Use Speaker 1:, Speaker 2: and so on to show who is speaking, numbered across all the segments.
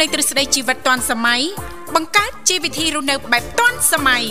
Speaker 1: លេងទ្រឹស្ដីជីវិតទាន់សម័យបង្កើតជីវវិធីរស់នៅបែបទាន់សម័យ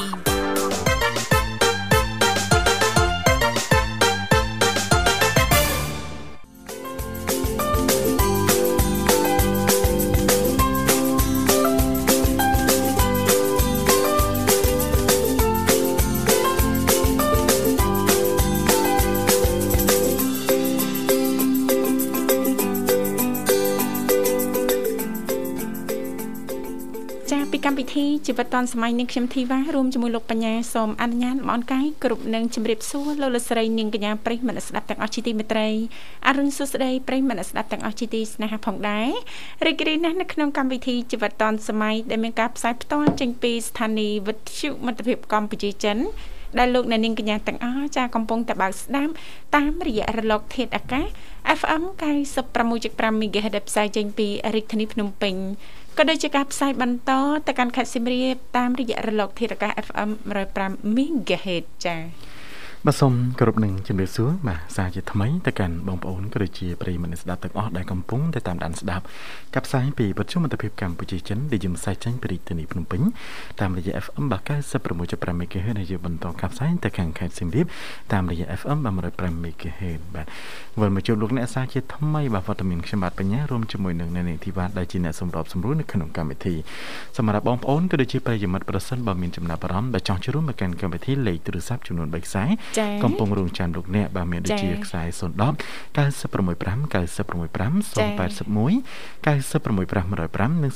Speaker 2: ចាពីកម្មវិធីជីវិតឌွန်សម័យនាងខ្ញុំធីវ៉ារួមជាមួយលោកបញ្ញាសូមអនុញ្ញាតបងអនកាយគ្រប់នឹងជម្រាបសួរលោកលកស្រីនាងកញ្ញាប្រិយមិត្តស្ដាប់ទាំងអស់ជាទីមេត្រីអរុនសុស្ដីប្រិយមិត្តស្ដាប់ទាំងអស់ជាទីស្នេហាផងដែររីករាយណាស់នៅក្នុងកម្មវិធីជីវិតឌွန်សម័យដែលមានការផ្សាយផ្ទាល់ចេញពីស្ថានីយ៍វិទ្យុមិត្តភាពកម្ពុជាចិនដែលលោកអ្នកនាងកញ្ញាទាំងអស់ចាកំពុងតែបើកស្ដាប់តាមរយៈរលកធាតុអាកាស FM 96.5 MHz ដែលផ្សាយចេញពីរាជធានីភ្នំពេញក៏ដូចជាការផ្សាយបន្តទៅកាន់ខេត្តសៀមរាបតាមរយៈរលកធាតុអាកាស FM 105 MHz ចា
Speaker 3: បាទសូមគោរពនឹងជំរាបសួរបាទសារជាថ្មីទៅកាន់បងប្អូនក៏ដូចជាប្រិយមិត្តអ្នកស្ដាប់ទាំងអស់ដែលកំពុងតែតាមដានស្ដាប់កັບផ្សាយពីវិទ្យុមិត្តភាពកម្ពុជាចិនដែលយើងផ្សាយចេញពីរាជធានីភ្នំពេញតាមរយៈ FM 96.5 MHz ដែលយើងបន្តកັບផ្សាយទៅខាងខេត្តសៀមរាបតាមរយៈ FM 105 MHz បាទវិលមកជួបលោកអ្នកសារជាថ្មីបាទវត្តមានខ្ញុំបាទបញ្ញារួមជាមួយនឹងអ្នកនាងធីវ៉ាដែលជាអ្នកសម្របសម្រួលនៅក្នុងកម្មវិធីសម្រាប់បងប្អូនក៏ដូចជាប្រិយមិត្តប្រសិនបើមានចំណាប់អារម្មណ៍ដែលចង់ចូលរួមមកកាន់កម្មវិធីលេខទូរស័ព្ទចំនួន3ខ្សែ
Speaker 2: ចា
Speaker 3: កំពុងរងចាំលោកអ្នកបាទមានដូច
Speaker 2: ចា៎
Speaker 3: ជាខ្សែ010 965 965 081 965 105និង097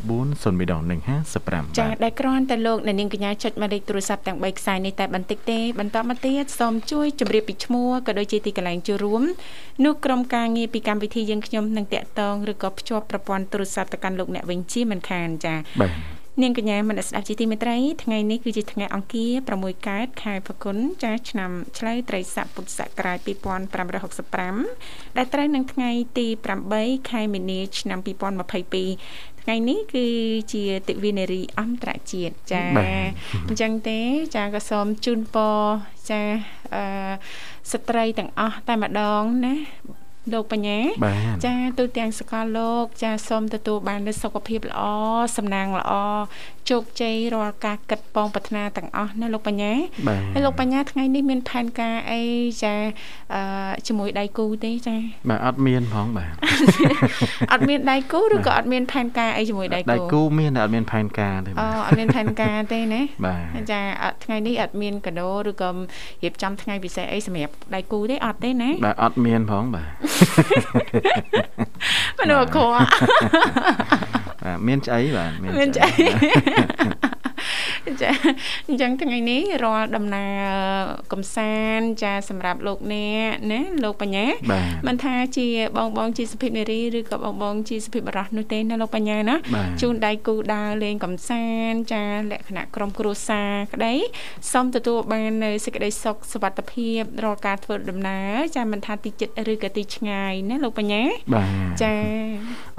Speaker 3: 74 01ដល់នឹង55
Speaker 2: ចា
Speaker 3: បាទ
Speaker 2: ដែលគ្រាន់តែលោកអ្នកនាងកញ្ញាចុចមកលេខទូរស័ព្ទទាំង3ខ្សែនេះតែបន្តិចទេបន្តមកទៀតសូមជួយជម្រាបពីឈ្មោះក៏ដូចជាទីកន្លែងចូលរួមនោះក្រុមការងារពីកម្មវិធីយើងខ្ញុំនឹងតាក់ទងឬក៏ភ្ជាប់ប្រព័ន្ធទូរស័ព្ទទៅកាន់លោកអ្នកវិញជាមិនខានចា
Speaker 3: បាទ
Speaker 2: នាងកញ្ញាមនស្សស្ដាប់ជាទីមេត្រីថ្ងៃនេះគឺជាថ្ងៃអង្គារ6កើតខែផល្គុនចាឆ្នាំឆ្លូវត្រីស័កពុទ្ធសករាជ2565ដែលត្រូវនឹងថ្ងៃទី8ខែមីនាឆ្នាំ2022ថ្ងៃនេះគឺជាទិវានារីអន្តរជាតិចាអញ្ចឹងទេចាក៏សូមជូនពរចាអឺស្ត្រីទាំងអស់តែម្ដងណាលោកបញ្ញា
Speaker 3: បាទ
Speaker 2: ចាទូទាំងសកលលោក ចាសូមទទួលបាននូវសុខភាពល្អសំណាងល្អជោគជ័យរាល់ការគិតបងប្រាថ្នាទាំងអស់ណាលោកបញ្ញា
Speaker 3: បាទ
Speaker 2: ហើយលោកបញ្ញាថ្ងៃនេះមានផែនការអីចាអឺជាមួយដៃគូទេចា
Speaker 3: បាទអត់មានផងបាទ
Speaker 2: អត់មានដៃគូឬក៏អត់មានផែនការអីជាមួយដៃ
Speaker 3: ដៃ
Speaker 2: គូ
Speaker 3: គូមានតែអត់មានផែនការទេ
Speaker 2: អូ
Speaker 3: បាទ
Speaker 2: អត់មានផែនការទេណា
Speaker 3: បាទ
Speaker 2: ចាអត់ថ្ងៃនេះអត់មានកាដូឬក៏រៀបចំថ្ងៃពិសេសអីសម្រាប់ដៃគូទេអត់ទេណា
Speaker 3: បាទអត់មានផងបាទ
Speaker 2: មនុស្សអាក្រក់
Speaker 3: បាទមានឆ្អីបាទ
Speaker 2: មានចៃចា អញ្ចឹងថ្ងៃនេះរាល់ដំណើរកំសាន្តចាសម្រាប់លោកអ្នកណាលោកបញ្ញា
Speaker 3: បាទ
Speaker 2: មិនថាជាបងបងជាសុភិបនារីឬក៏បងបងជាសុភិបបរោះនោះទេណាលោកបញ្ញាណា
Speaker 3: បាទ
Speaker 2: ជូនដៃគូដើរលេងកំសាន្តចាលក្ខណៈក្រុមគ្រួសារក្តីសូមទទួលបាននៅសេចក្តីសុខសុវត្ថិភាពរាល់ការធ្វើដំណើរចាមិនថាទីជិតឬក៏ទីឆ្ងាយណាលោកបញ្ញា
Speaker 3: បាទ
Speaker 2: ចា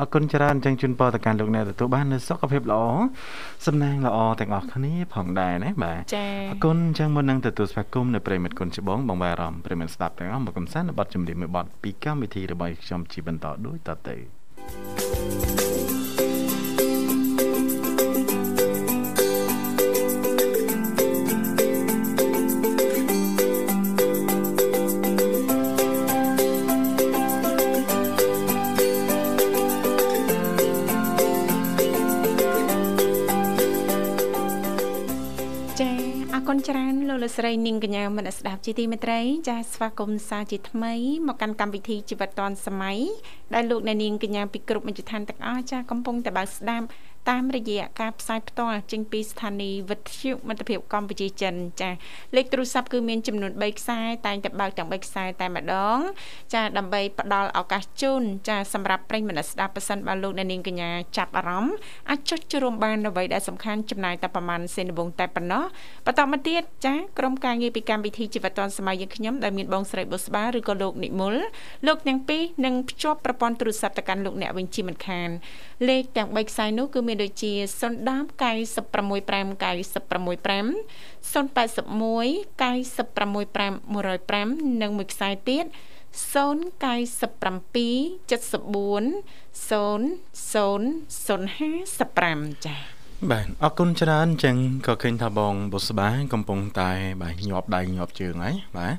Speaker 3: អរគុណច្រើនអញ្ចឹងជូនពរទៅកាន់លោកអ្នកទទួលបាននូវសុខភាពល្អសំណាងល្អទាំងអស់គ្នាផងដែរណាបាទ
Speaker 2: ចា
Speaker 3: អរគុណអញ្ចឹងមុននឹងទទួលស្វាគមន៍នៅប្រិមិត្តគុណច្បងបងបារម្ភប្រិមិត្តស្ដាប់ទាំងអស់មកកំសាន្តនៅបទចម្រៀងមួយបទពីកម្មវិធីរបស់ខ្ញុំជីបន្តដូចតទៅ
Speaker 2: ចាអរគុណច្រើនលោកលោកស្រីនាងកញ្ញាមនស្សស្ដាប់ជាទីមេត្រីចាស្វាគមន៍សាជាថ្មីមកកាន់កម្មវិធីជីវិតឌွန်សម័យដែលលោកអ្នកនាងកញ្ញាពីគ្រប់មជ្ឈដ្ឋានទាំងអស់ចាកំពុងតែបើកស្ដាប់តាមរយៈការផ្សាយផ្ទាល់ចេញពីស្ថានីយ៍វិទ្យុមិត្តភាពកម្ពុជាចិនចាលេខទូរស័ព្ទគឺមានចំនួន3ខ្សែតែងតែបើកទាំង3ខ្សែតែម្ដង ចាដើម្បីផ្ដល់ឱកាសជូនចាសម្រាប់ប្រិយមិត្តអ្នកស្ដាប់ប៉ះសិនបើលោកអ្នកនាងកញ្ញាចាប់អារម្មណ៍អាចចុចចូលរួមបានអ្វីដែលសំខាន់ចំណាយតែប្រមាណសេនដវងតែប៉ុណ្ណោះបន្តមកទៀតចាក្រុមការងារពីកម្មវិធីជីវិតឌွန်សម័យយើងខ្ញុំដែលមានបងស្រីបុស្បាឬក៏លោកនិមលលោកទាំងពីរនឹងភ្ជាប់ប្រព័ន្ធទូរស័ព្ទទៅកាន់លោកអ្នកវិញជាមិនខានលេខទាំង3ខ្សែនោះគឺមានដូចជា010 965 965 081 965 105និងមួយខ្សែទៀត097 097 74 0055ចា៎
Speaker 3: បាទអរគុណច្រើនអញ្ចឹងក៏ឃើញថាបងបុស្បាកំពុងតែបាទញាប់ដៃញាប់ជើងហើយបាទ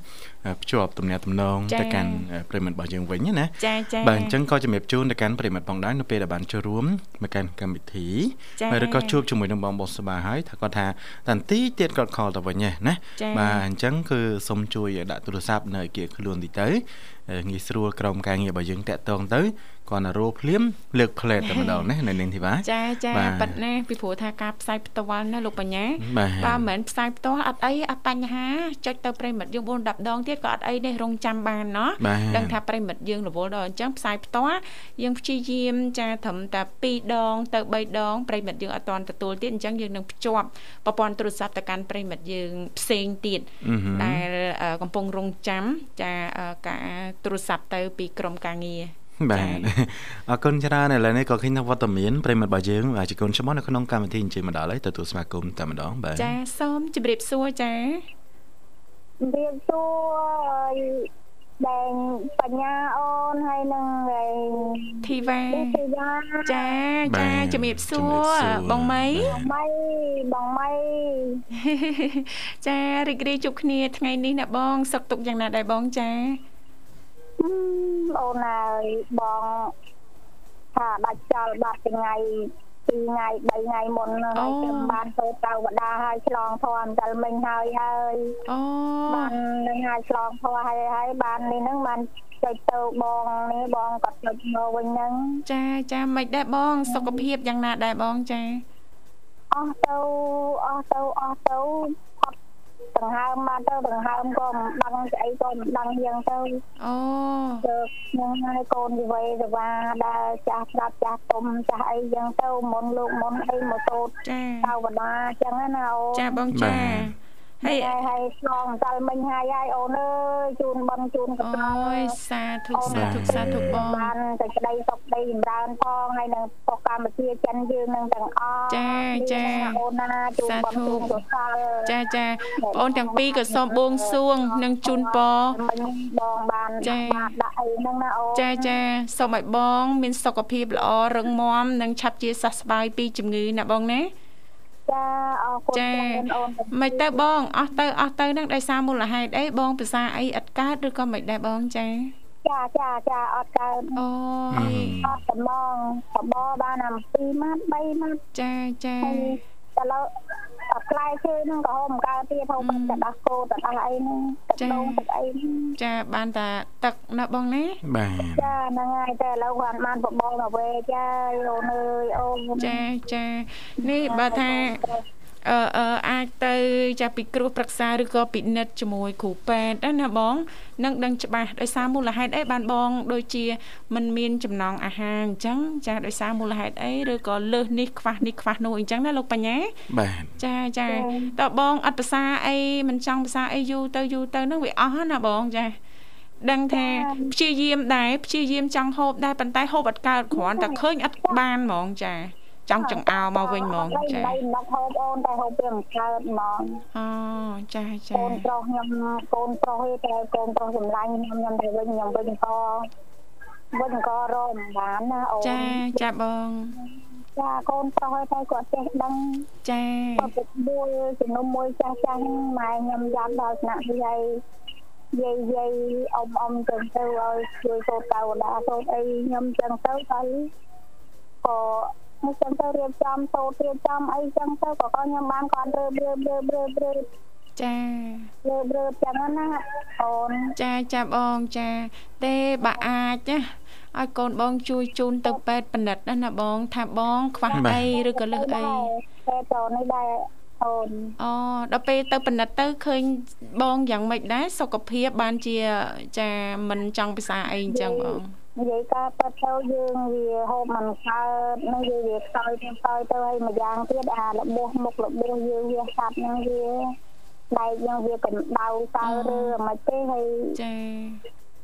Speaker 3: អឺភ្ជាប់ទំនាក់ទំនង
Speaker 2: ចា៎
Speaker 3: ទៅកាន់អឺប្រិយមិត្តរបស់យើងវិញណា
Speaker 2: ចាចា
Speaker 3: បាទអញ្ចឹងក៏ជំរាបជូនទៅកាន់ប្រិយមិត្តផងដែរនៅពេលដែលបានចូលរួមមកកាន់កម្មវិធីបាទឬក៏ជួបជាមួយនឹងបងបុស្បាហើយថាគាត់ថាតាន់ទីទៀតគាត់ខលទៅវិញហ៎ណា
Speaker 2: ចា
Speaker 3: បាទអញ្ចឹងគឺសូមជួយដាក់ទូរស័ព្ទនៅឯគៀខ្លួនតិចទៅអឺងាយស្រួលក្រុមការងាររបស់យើងតាក់ទងទៅគាត់ណារោភ្លាមលើកផ្លែតតែម្ដងណានៅនឹងធីវ៉ា
Speaker 2: ចាចា
Speaker 3: បាទ
Speaker 2: ប៉ិតណាពីព្រោះថាការផ្សាយផ្ទាល់ណាលោកបញ្ញា
Speaker 3: បាទ
Speaker 2: បើមិនមែនផ្សាយផ្ទាល់អត់អីអត់បញ្ហាចុចទៅប្រិយមិត្តយើង4 10ដងទៀតក៏អត់អីដែររងចាំបានណោះ
Speaker 3: បាទ
Speaker 2: ដឹងថាប្រិយមិត្តយើងរវល់ដល់អញ្ចឹងផ្សាយផ្ទាល់យើងព្យាយាមចាត្រឹមតែ2ដងទៅ3ដងប្រិយមិត្តយើងអត់ទាន់ទទួលទៀតអញ្ចឹងយើងនឹងភ្ជាប់ប្រព័ន្ធទូរស័ព្ទទៅកាន់ប្រិយមិត្តយើងផ្សេងទៀត
Speaker 3: អឺហឹម
Speaker 2: ដែលអឺកំពុងរងចាំចាអឺការទូរស័ព្ទទៅពីក្រុមការងារ
Speaker 3: បាទ
Speaker 2: ចា៎
Speaker 3: អរគុណច្រើនឥឡូវនេះក៏ឃើញថាវត្តមានប្រិមត្តរបស់យើងអាចគុណឈ្មោះនៅក្នុងកម្មវិធីអញ្ជើញមកដល់ហើយទទួលស្វាគមន៍តែម្ដងបាទ
Speaker 2: ចាសូមជម្រាបសួរចា
Speaker 4: រៀបសួរឲ្យដែងបញ្ញាអូនហើយនឹងឯង
Speaker 2: ធីវ៉ា
Speaker 4: ទីទីយ៉ា
Speaker 2: ចាចាជំរាបសួរបងមី
Speaker 4: ម៉ៃបងម៉ៃ
Speaker 2: ចារីករាយជួបគ្នាថ្ងៃនេះណាបងសុខទុក្ខយ៉ាងណាដែរបងចា
Speaker 4: អឺអូនហើយបងថាដាច់ចោលបាត់ថ្ងៃ2ថ្ងៃ3ថ្ងៃមុនហ្នឹងហើយខ្ញុំបានទៅទៅវតាហើយឆ្លងធំដល់មិញហើយហើយ
Speaker 2: អូ
Speaker 4: បាននឹងហើយឆ្លងធំហើយហើយបាននេះហ្នឹងបានចុចទៅបងនេះបងក៏ចុចមកវិញហ្នឹង
Speaker 2: ចាចាមិនដែរបងសុខភាពយ៉ាងណាដែរបងចា
Speaker 4: អស់ទៅអស់ទៅអស់ទៅអត់ដង្ហើមបានទៅដង្ហើមក៏មិនដឹងស្អីក៏មិនដឹងយ៉ាងទៅ
Speaker 2: អូ
Speaker 4: ទៅខ្ញុំហើយកូនវិវេសវាដែលចាស់ស្រាប់ចាស់ទុំចាស់អីយ៉ាងទៅមុនលោកមុនអីម៉ូតូ
Speaker 2: ចា
Speaker 4: តាវតាអញ្ចឹងណាអូន
Speaker 2: ចាបងចាហើយ
Speaker 4: ហើយហើយឆ្លងម្សិលមិញហើយហើយអូនអើយជូនបនជូនកណ្ដ
Speaker 2: អូយសាធុសាធុសាធុបង
Speaker 4: បានសេចក្តីសុខដីចម្រើនផងហើយនឹងពុកកម្ពុជាចិនយើងនឹងទាំងអស់
Speaker 2: ចាចា
Speaker 4: នេះណាអូនណាជូនបនជូនកសល
Speaker 2: ចាចាបងអូនទាំងពីរក៏សូមបួងសួងនិងជូនពរ
Speaker 4: មិញបងបាន
Speaker 2: ចា៎
Speaker 4: បានដាក់អីហ្នឹងណាអូន
Speaker 2: ចាចាសូមឲ្យបងមានសុខភាពល្អរឹងមាំនិងឆាប់ជាសះស្បើយពីជំងឺណាបងណា
Speaker 4: ចាអរគុណ
Speaker 2: ចា
Speaker 4: ច្រើនអូន
Speaker 2: មិនទៅបងអស់ទៅអស់ទៅនឹងដោយសារមូលហេតុអីបងភាសាអីឥតកើតឬក៏មិនដែរបងចា
Speaker 4: ចាចាចាអត់កើត
Speaker 2: អូ
Speaker 3: អឺ
Speaker 2: យ
Speaker 4: អត់ត្មងបបបានអំ2ម៉ាត់3ម៉ាត់
Speaker 2: ចាចា
Speaker 4: ហើយតែឡូវអត់ខ្លាយជើងហ្នឹងក៏ហូបមិនកើតទៀតហូបតែដោះគោតែដោះអីហ្នឹងទឹកដូងទឹកអីហ្នឹង
Speaker 2: ចាបានតាទឹកណាបងណា
Speaker 3: បាទ
Speaker 4: ចាហ្នឹងហើយតែឥឡូវគាត់បានបបមកវេចាអូនអើយអូន
Speaker 2: ចាចានេះបើថាអឺអឺអាចទៅចាពីគ្រូប្រឹក្សាឬក៏ពិនិត្យជាមួយគ្រូពេទ្យណាណាបងនឹងដឹងច្បាស់ដោយសារមូលហេតុអីបានបងដូចជាมันមានចំណងអាហារអញ្ចឹងចាដោយសារមូលហេតុអីឬក៏លើសនេះខ្វះនេះខ្វះនោះអញ្ចឹងណាលោកបញ្ញា
Speaker 3: បាទ
Speaker 2: ចាចាតើបងអត់ភាសាអីមិនចង់ភាសាអីយូរទៅយូរទៅនឹងវាអស់ហើយណាបងចាដឹងថាព្យាយាមដែរព្យាយាមចង់ហូបដែរប៉ុន្តែហូបអត់កើតគ្រាន់តែឃើញអត់បានហ្មងចាចង់ចង្អោមកវិញហ្មង
Speaker 4: ចា
Speaker 2: ចា
Speaker 4: តែមិនហូបអូនតែហូបវាមិនកើតហ្មង
Speaker 2: អូចា
Speaker 4: កូ
Speaker 2: ចា
Speaker 4: នប្រុសខ្ញុំកូនប្រុសទេតែកូនប្រុសចម្លាញ់ខ្ញុំខ្ញុំទៅវិញខ្ញុំវិញក៏វិញក៏រមបានណាអូន
Speaker 2: ចាចាបង
Speaker 4: ចាកូនប្រុសទេគាត់ចេះដឹង
Speaker 2: ចា
Speaker 4: គាត់ទៅមួយជំនុំមួយចាស់ចាស់ហ្នឹងម៉ែខ្ញុំយ៉ាងដល់ថ្នាក់វាយយាយយាយអ៊ំអ៊ំចឹងទៅឲ្យជួយសូត្រកៅដាសូត្រអីខ្ញុំចឹងទៅហើយក៏ខ្ញុំចឹងទៅរៀបចំសូត្ររៀបចំអីចឹងទៅក៏ខ្ញុំបានគាត់រើបរើបរើបរើបរើប
Speaker 2: ចា
Speaker 4: រើបរើបចឹងហ្នឹងណាអូន
Speaker 2: ចាចាបងចាទេបើអាចណាឲ្យកូនបងជួយជូនទៅពេទ្យបណ្ឌិតណាណាបងថាបងខ្វះអីឬក៏លើសអី
Speaker 4: តែតនេះដែរអូន
Speaker 2: អូដល់ពេលទៅបណ្ឌិតទៅឃើញបងយ៉ាងម៉េចដែរសុខភាពបានជាចាមិនចង់ភាសាអីអញ្ចឹងបង
Speaker 4: និយាយការប៉ាត់ទៅយើងវាហូបមិនកើតនឹងយើងវាខ្សោយទៅខ្សោយទៅហើយម្យ៉ាងទៀតអារបួសមុខរបួសយើងវាសាប់នឹងវាបែកនឹងវាកម្ដៅតើឬអ្មិនទេហើយ
Speaker 2: ចា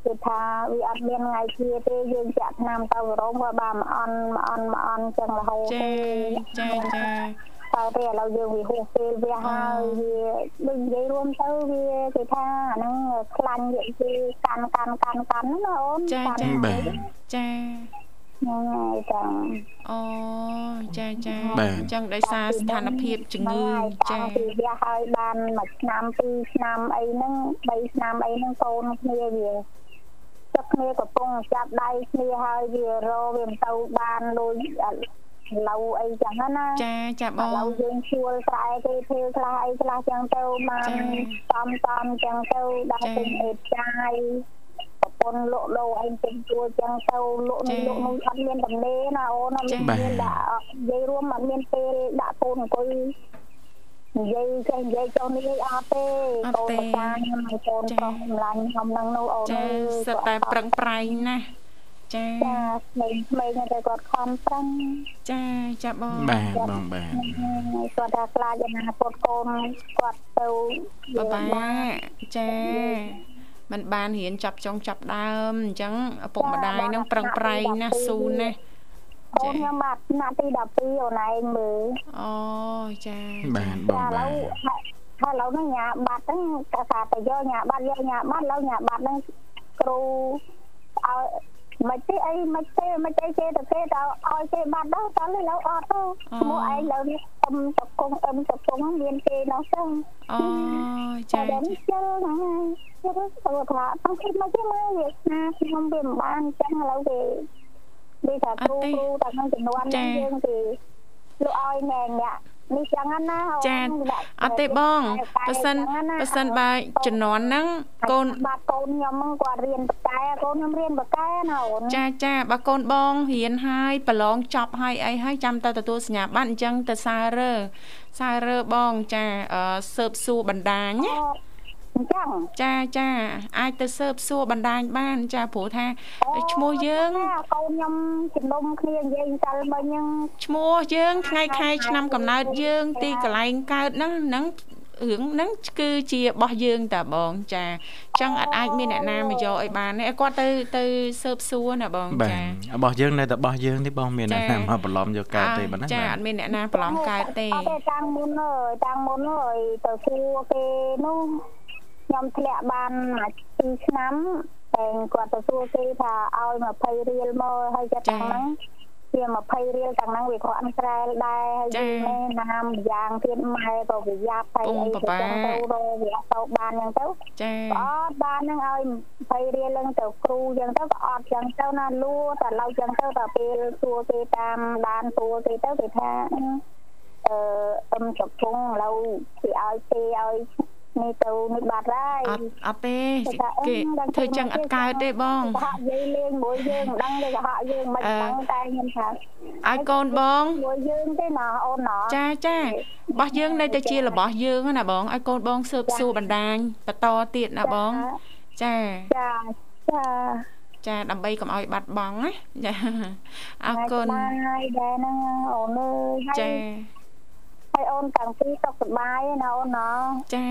Speaker 4: គឺថាវាអត់មានថ្ងៃធៀទេយើងចាក់ឆ្នាំទៅរោមក៏បានមកអន់មកអន់មកអន់ចឹងរហូត
Speaker 2: ចាចាចា
Speaker 4: បើទេឥឡូវយើងវាហួសពេលវាហើយវាដូចនិយាយរួមទៅវាគឺថាអាហ្នឹងខ្លាញ់វាគឺកាន់កាន់កាន់កាន់ហ្នឹងណាអូន
Speaker 2: ចា
Speaker 4: កាន់
Speaker 2: ចា
Speaker 4: ហ្នឹង
Speaker 3: បាទ
Speaker 2: ចា
Speaker 4: ហើយចា
Speaker 2: អូចាចា
Speaker 3: បាទ
Speaker 2: អញ្ចឹងដោយសារស្ថានភាពជំងឺចា
Speaker 4: ចាគឺវាហើយបានមួយឆ្នាំពីរឆ្នាំអីហ្នឹងបីឆ្នាំអីហ្នឹងកូនគ្នាវាចាប់គ្នាកំពុងចាប់ដៃគ្នាហើយវារកវាមិនទៅបានលុយឥឡូវអីចឹងហ្នឹងណា
Speaker 2: ចាចាប
Speaker 4: ឥឡូ
Speaker 2: ង
Speaker 4: វយើងជួលស្រែគេធ្វើខ្លះអីខ្លះចឹងទៅបាន
Speaker 2: ចា៎
Speaker 4: តំតំចឹងទៅដល់
Speaker 2: ចា៎
Speaker 4: ពេញអេតចាយប្រពន្ធលក់ដូរអីពេញជួលចឹងទៅលក់នេះ
Speaker 2: ចា៎
Speaker 4: លក់នោះអត់មានតម្លៃណាអូនអត់
Speaker 2: ចា៎
Speaker 4: មានដាក់និយាយរួមអត់មានពេលដាក់កូនអង្គុយនិយាយចេះនិយាយចុះនេះអត់ទេ
Speaker 2: អត់
Speaker 4: កូន
Speaker 2: ទេ
Speaker 4: ប្រចាំខ្ញុំឲ្យកូន
Speaker 2: ចា៎
Speaker 4: ប្រុសកម្លាំងខ្ញុំនឹងនោះអូន
Speaker 2: ចា
Speaker 4: អើយ
Speaker 2: សិតតែប្រឹងប្រែងណាស់ចា
Speaker 4: ចាក្មេងៗហ្នឹងតែគាត់ខំប្រឹង
Speaker 2: ចាចាបង
Speaker 3: បាទបងបាទ
Speaker 4: គាត់ថាខ្លាចអនាគតកូនគាត់ទៅ
Speaker 2: បបាចាมันបានរៀនចាប់ចុងចាប់ដើមអញ្ចឹងឪពុកម្ដាយនឹងប្រឹងប្រែងណាស់ស៊ូណាស់
Speaker 4: កូនខ្ញុំបាទថ្នាក់ទី12អូនឯងមើល
Speaker 2: អូចា
Speaker 3: បាទបង
Speaker 4: ចាឥ
Speaker 3: បា
Speaker 4: ឡូ
Speaker 3: ទ
Speaker 4: វហើយឥឡូវហ្នឹងញ៉ាបាត់ហ្នឹងកាលថាទៅយកញ៉ាបាត់យកញ៉ាបាត់ឥឡូវញ៉ាបាត់ហ្នឹងគ្រូឲ្យមិនទេអីមិនទេមិនទេគេទៅគេទៅឲ្យគេបាត់ដល់ដល់ឥឡូវអត់ទៅឈ្មោះឯងឥឡូវនេះអឹមតកងអឹមតកងមានគេនោះទៅ
Speaker 2: អូ
Speaker 4: ចា
Speaker 2: ចា
Speaker 4: ដល់នេះជិលហ្នឹងហើយជិលទៅថាអង្គិតមកទេមើលវាស្នាខ្ញុំវាមិនបានអញ្ចឹងឥឡូវគេវាថាគ្រូគ្រូតែក្នុងចំនួនហ្នឹងយើងគេលក់ឲ្យណែអ្នកនេះចឹងណា
Speaker 2: ចាអត់ទេបងប៉ះសិនប៉ះសិនបើជំនន់ហ្នឹងកូន
Speaker 4: បាទកូនខ្ញុំហ្នឹងគាត់រៀនបកែកូនខ្ញុំរៀនបកែណាអូន
Speaker 2: ចាចាបើកូនបងរៀនហើយប្រឡងចប់ហើយអីហើយចាំតែទទួលសញ្ញាបត្រអញ្ចឹងទៅសាររើសាររើបងចាអឺសើបសួរបណ្ដាញណា
Speaker 4: អញ្ចឹង
Speaker 2: ចាចាអាចទៅស៊ើបសួរបណ្ដាញបានចាព្រោះថាឈ្មោះយើង
Speaker 4: កូនខ្ញុំជំនុំគ្នានិយាយសិលមិញហ្នឹង
Speaker 2: ឈ្មោះយើងថ្ងៃខែឆ្នាំកំណើតយើងទីកន្លែងកើតហ្នឹងហ្នឹងរឿងហ្នឹងគឺជារបស់យើងតាបងចាអញ្ចឹងអត់អាចមានអ្នកណាមកយកឲ្យបានទេគាត់ទៅទៅស៊ើបសួរណាបង
Speaker 3: បាទ
Speaker 2: ចា
Speaker 3: របស់យើងនៅតែរបស់យើងទេបងមានអ្នកណាមកបន្លំយកកើតទេបងណា
Speaker 2: ចា
Speaker 3: បាទ
Speaker 2: អត់មានអ្នកណាប្រឡំកើតទេ
Speaker 4: អត់ទេតាំងមុនហើយតាំងមុនហើយទៅគួគេនោះខ្ញុំធ្លាក់បានមួយ2ឆ្នាំតែគាត់ទៅគួគេថាឲ្យ20រៀលមកហើយចិត្តទាំងហ្នឹងជា20រៀលទាំងហ្នឹងវាគ្រាន់ស្រែលដែរហើយយើងណាមយ៉ាងទៀតម៉ែក៏ប្រយ័ត្នតែអីទៅទៅរកវាទៅបានអញ្ចឹងទៅ
Speaker 2: ចា
Speaker 4: អត់បាននឹងឲ្យ20រៀលឡើងទៅគ្រូចឹងទៅក៏អត់ចឹងទៅណាលួតែឡូវចឹងទៅដល់ពេលសួរគេតាមដានសួរគេទៅគេថាអឺអឹមចកពុងឥឡូវគេឲ្យទេឲ្យនេះទៅនេះបាត់ហើយ
Speaker 2: អត់អត់ទេ
Speaker 4: គេថា
Speaker 2: គេធ្វើចឹងអត់កើតទេបង
Speaker 4: គេហាក់និយាយលេងមួយយើងមិនដឹងទេគេហាក់យើងមិនដឹងតែខ្ញុំថា
Speaker 2: ឲ្យកូនបង
Speaker 4: មួយយើងទេណាអូនណា
Speaker 2: ចាចារបស់យើងនៅតែជារបស់យើងហ្នឹងណាបងឲ្យកូនបងស៊ើបសួរបណ្ដាញបន្តទៀតណាបង ចា
Speaker 4: ចាចា
Speaker 2: ចាដើម្បីកុំឲ្យបាត់បង់ណា ចាអរគុណ
Speaker 4: ហើយដែរហ្នឹងអូនអើយហើយ
Speaker 2: ចា
Speaker 4: ហើយអូនតាំងពីសុខសប្បាយណាអូនណា
Speaker 2: ចា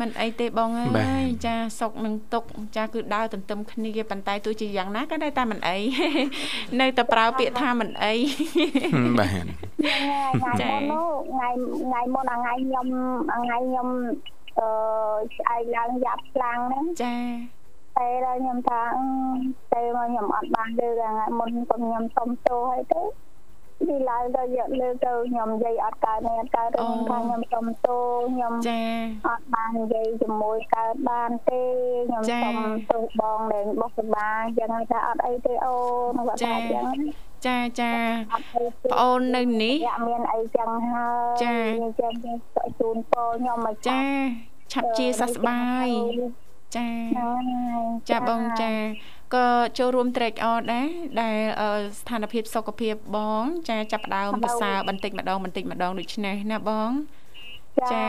Speaker 2: មិនអីទេបងអ
Speaker 3: បា
Speaker 2: ើយ
Speaker 3: ទ
Speaker 2: ចាសុកនឹងទុក ចាគឺដើរទន្ទឹមគ្នាប៉ុន្តែទោះជាយ៉ាងណាក៏នៅតែមិនអី នៅតែប្រើពាក្យថាមិនអី
Speaker 3: បាទ
Speaker 4: ថ្ងៃ
Speaker 2: ចា៎
Speaker 4: មុននោះថ្ងៃថ្ងៃមុនអាថ្ងៃខ្ញុំអាថ្ងៃខ្ញុំអឺស្អែកឡើងយ៉ាប់ខ្លាំងហ្នឹង
Speaker 2: ចា
Speaker 4: តែដល់ខ្ញុំថាអឺតែមកខ្ញុំអត់បានលើកអាថ្ងៃមុនខ្ញុំខ្ញុំសុំទោសហើយទៅពីឡើងទៅយកលើកទៅខ្ញុំនិយាយអត់កើតនេះអត់កើតទេខ្ញុំថាខ្ញុំសុំទោសខ្ញុំ
Speaker 2: ចា
Speaker 4: អត់បាននិយាយជាមួយកើតបានទេខ្ញុំ
Speaker 2: ចា៎
Speaker 4: សុំទោសបងដែលបុកសម្បារយ៉ាងហ្នឹងថាអត់អីទេអូនគាត់ថា
Speaker 2: ចា៎
Speaker 4: អញ្ចឹង
Speaker 2: ចាចា
Speaker 4: អត់អីទេ
Speaker 2: ប្អូននៅ នេះ
Speaker 4: អ្នកមានអីចឹងហើយ
Speaker 2: ចា៎
Speaker 4: ចឹងទៅជូនពរខ្ញុំមក
Speaker 2: ចាឆាប់ជាសះស្បើយចា ចាបងចាក៏ចូលរួមត្រេកអរដែរដែលអឺស្ថានភាពសុខភាពបង ចាចាប់ផ្ដើមប្រសើរបន្តិចម្ដងបន្តិចម្ដងដូចនេះណាបង ចា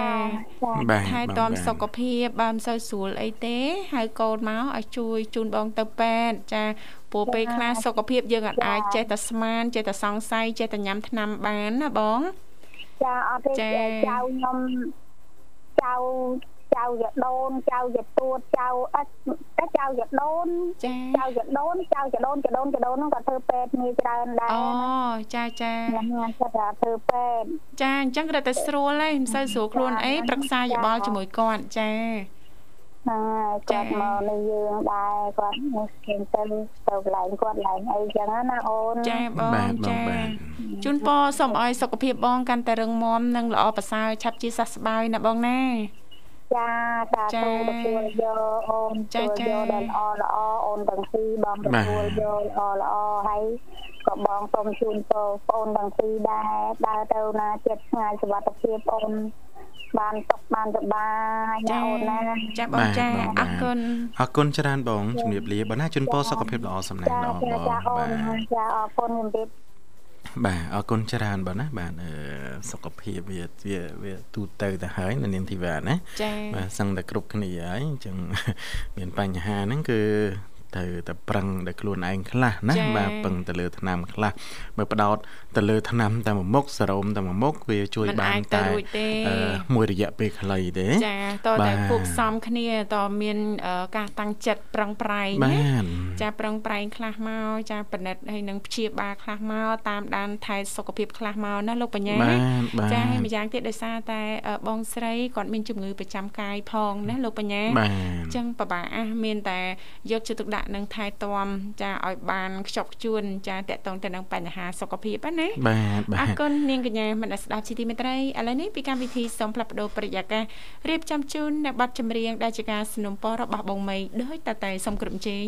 Speaker 3: បាទ
Speaker 2: ថែ
Speaker 3: បង
Speaker 2: ទាំ
Speaker 3: បាទ
Speaker 2: សុខភាពបើមិនសូវស្រួលអីទេហៅកូនមកឲ្យជួយជូនបងទៅពេទ្យចាព្រោះពេលខ្លះសុខភាពយើងអាចអាចចេះតែស្មានចេះតែសង្ស័យចេះតែញ៉ាំថ្នាំបានណាបង
Speaker 4: ចាអត់ទេ
Speaker 2: ចា៎
Speaker 4: ចៅខ្ញុំចៅ
Speaker 5: ចៅយ៉ាដូនចៅយ៉ាពួតចៅអិចតែចៅយ៉ាដូន
Speaker 2: ចា
Speaker 5: ចៅយ៉ាដូនចៅយ៉ាដូនចៅដូនចៅដូនហ្នឹងក៏ធ្វើពេទ្យងាយច្រើនដែ
Speaker 2: អូ
Speaker 5: រ
Speaker 2: ចាចា
Speaker 5: ណាស់ណាស់គាត់ថាធ្វើពេទ្យ
Speaker 2: ចាអញ្ចឹងគាត់តែស្រួលហើយមិនសូវស្រួលខ្លួនអីប្រឹក្សាយោបល់ជាមួយគាត់ចា
Speaker 5: ណាគា
Speaker 2: ចា៎
Speaker 5: ត់មកនៅយើងដែរគាត់មកគេទៅទៅកន្លែងគាត់កន្លែងអីចឹងណាអូន
Speaker 2: ចាបងចាជូនពរសូមឲ្យសុខភាពបងកាន់តែរឹងមាំនិងល្អប្រសើរឆាប់ជាសះស្បើយណាបងណា
Speaker 5: ចាតា
Speaker 2: ចា៎
Speaker 5: ទូទទួលយកអូន
Speaker 2: ចា៎
Speaker 5: ទទួលយក
Speaker 2: ចា៎
Speaker 5: ដល់ល្អល្អអូនទាំងពីរបង
Speaker 3: បាទ
Speaker 5: ទទួលយកល្អល្អហើយក៏បងសូមជូនពរបងអូនទាំងពីរដែរដើរទៅណាចិត្តឆ្ងាយសុវត្ថិភាពអូនបានសុខបានសប្បាយណា
Speaker 2: ចា
Speaker 5: អូនណា
Speaker 2: ចាបងចា
Speaker 3: បាទបងបាទ
Speaker 2: អរគុណ
Speaker 3: អរគុណច្រើនបងជំរាបលាបងណាជូនពរសុខភាពល្អសំណាង
Speaker 5: ចា
Speaker 3: ល្អបង
Speaker 5: ចាចាអូន
Speaker 3: បាទ
Speaker 5: ចាអរគុណជំរាប
Speaker 3: បាទអរគុណច្រើនបងណាបាទអឺសុខភាពវាវាវាទូទៅទៅហើយនៅនាងធីវ៉ាណា
Speaker 2: ចា
Speaker 3: បាទសឹងតែគ្រប់គ្នាហើយអញ្ចឹង មានបញ្ហាហ្នឹងគឺត្រូវតែប្រឹងដល់ខ្លួនឯងខ្លះណាបាទពឹងទៅលើថ្នាំខ្លះបើបដោតទៅលើថ្នាំតែមួយមុខសរោមតែមួយមុខវាជួយ
Speaker 2: មិន
Speaker 3: បា
Speaker 2: អាច
Speaker 3: ន
Speaker 2: ទៅ
Speaker 3: តែ
Speaker 2: រួចទេ
Speaker 3: អឺមួយរយៈពេលខ្លីទេ
Speaker 2: ចាតើ
Speaker 3: បា
Speaker 2: តែ
Speaker 3: ទ
Speaker 2: គួបផ្សំគ្នាតើមានអឺការតាំងចិត្តប្រឹងប្រែង
Speaker 3: បា
Speaker 2: ណា
Speaker 3: ទ
Speaker 2: ចាប្រឹងប្រែងខ្លះមកចាប៉និតហើយនឹងព្យាបាលខ្លះមកតាមដានថែសុខភាពខ្លះមកណាលោកបញ្ញា
Speaker 3: បាទ
Speaker 2: ណា
Speaker 3: បាទ
Speaker 2: ចាហើយម្យ៉ាងទៀតដោយសារតែអឺបងស្រីគាត់មានជំងឺប្រចាំកាយផងណាលោកបញ្ញា
Speaker 3: បាទ
Speaker 2: អញ្ចឹងបបាអាសមានតែយកចិត្តទុកដាក់នឹងថែទាំចាឲ្យបានខ្ជាប់ខ្ជួនចាតកតងទៅនឹងបញ្ហាសុខភាពហ្នឹងណា
Speaker 3: បាទបាទ
Speaker 2: អរគុណនាងកញ្ញាមនស្សស្ដាប់ជីទីមេត្រីឥឡូវនេះពីកម្មវិធីសូមផ្លាប់បដោប្រយាកាសរៀបចំជូននៅប័ណ្ណចម្រៀងដែលជាការสนับสนุนរបស់បងមីដោយតតែសូមក្រុមជេង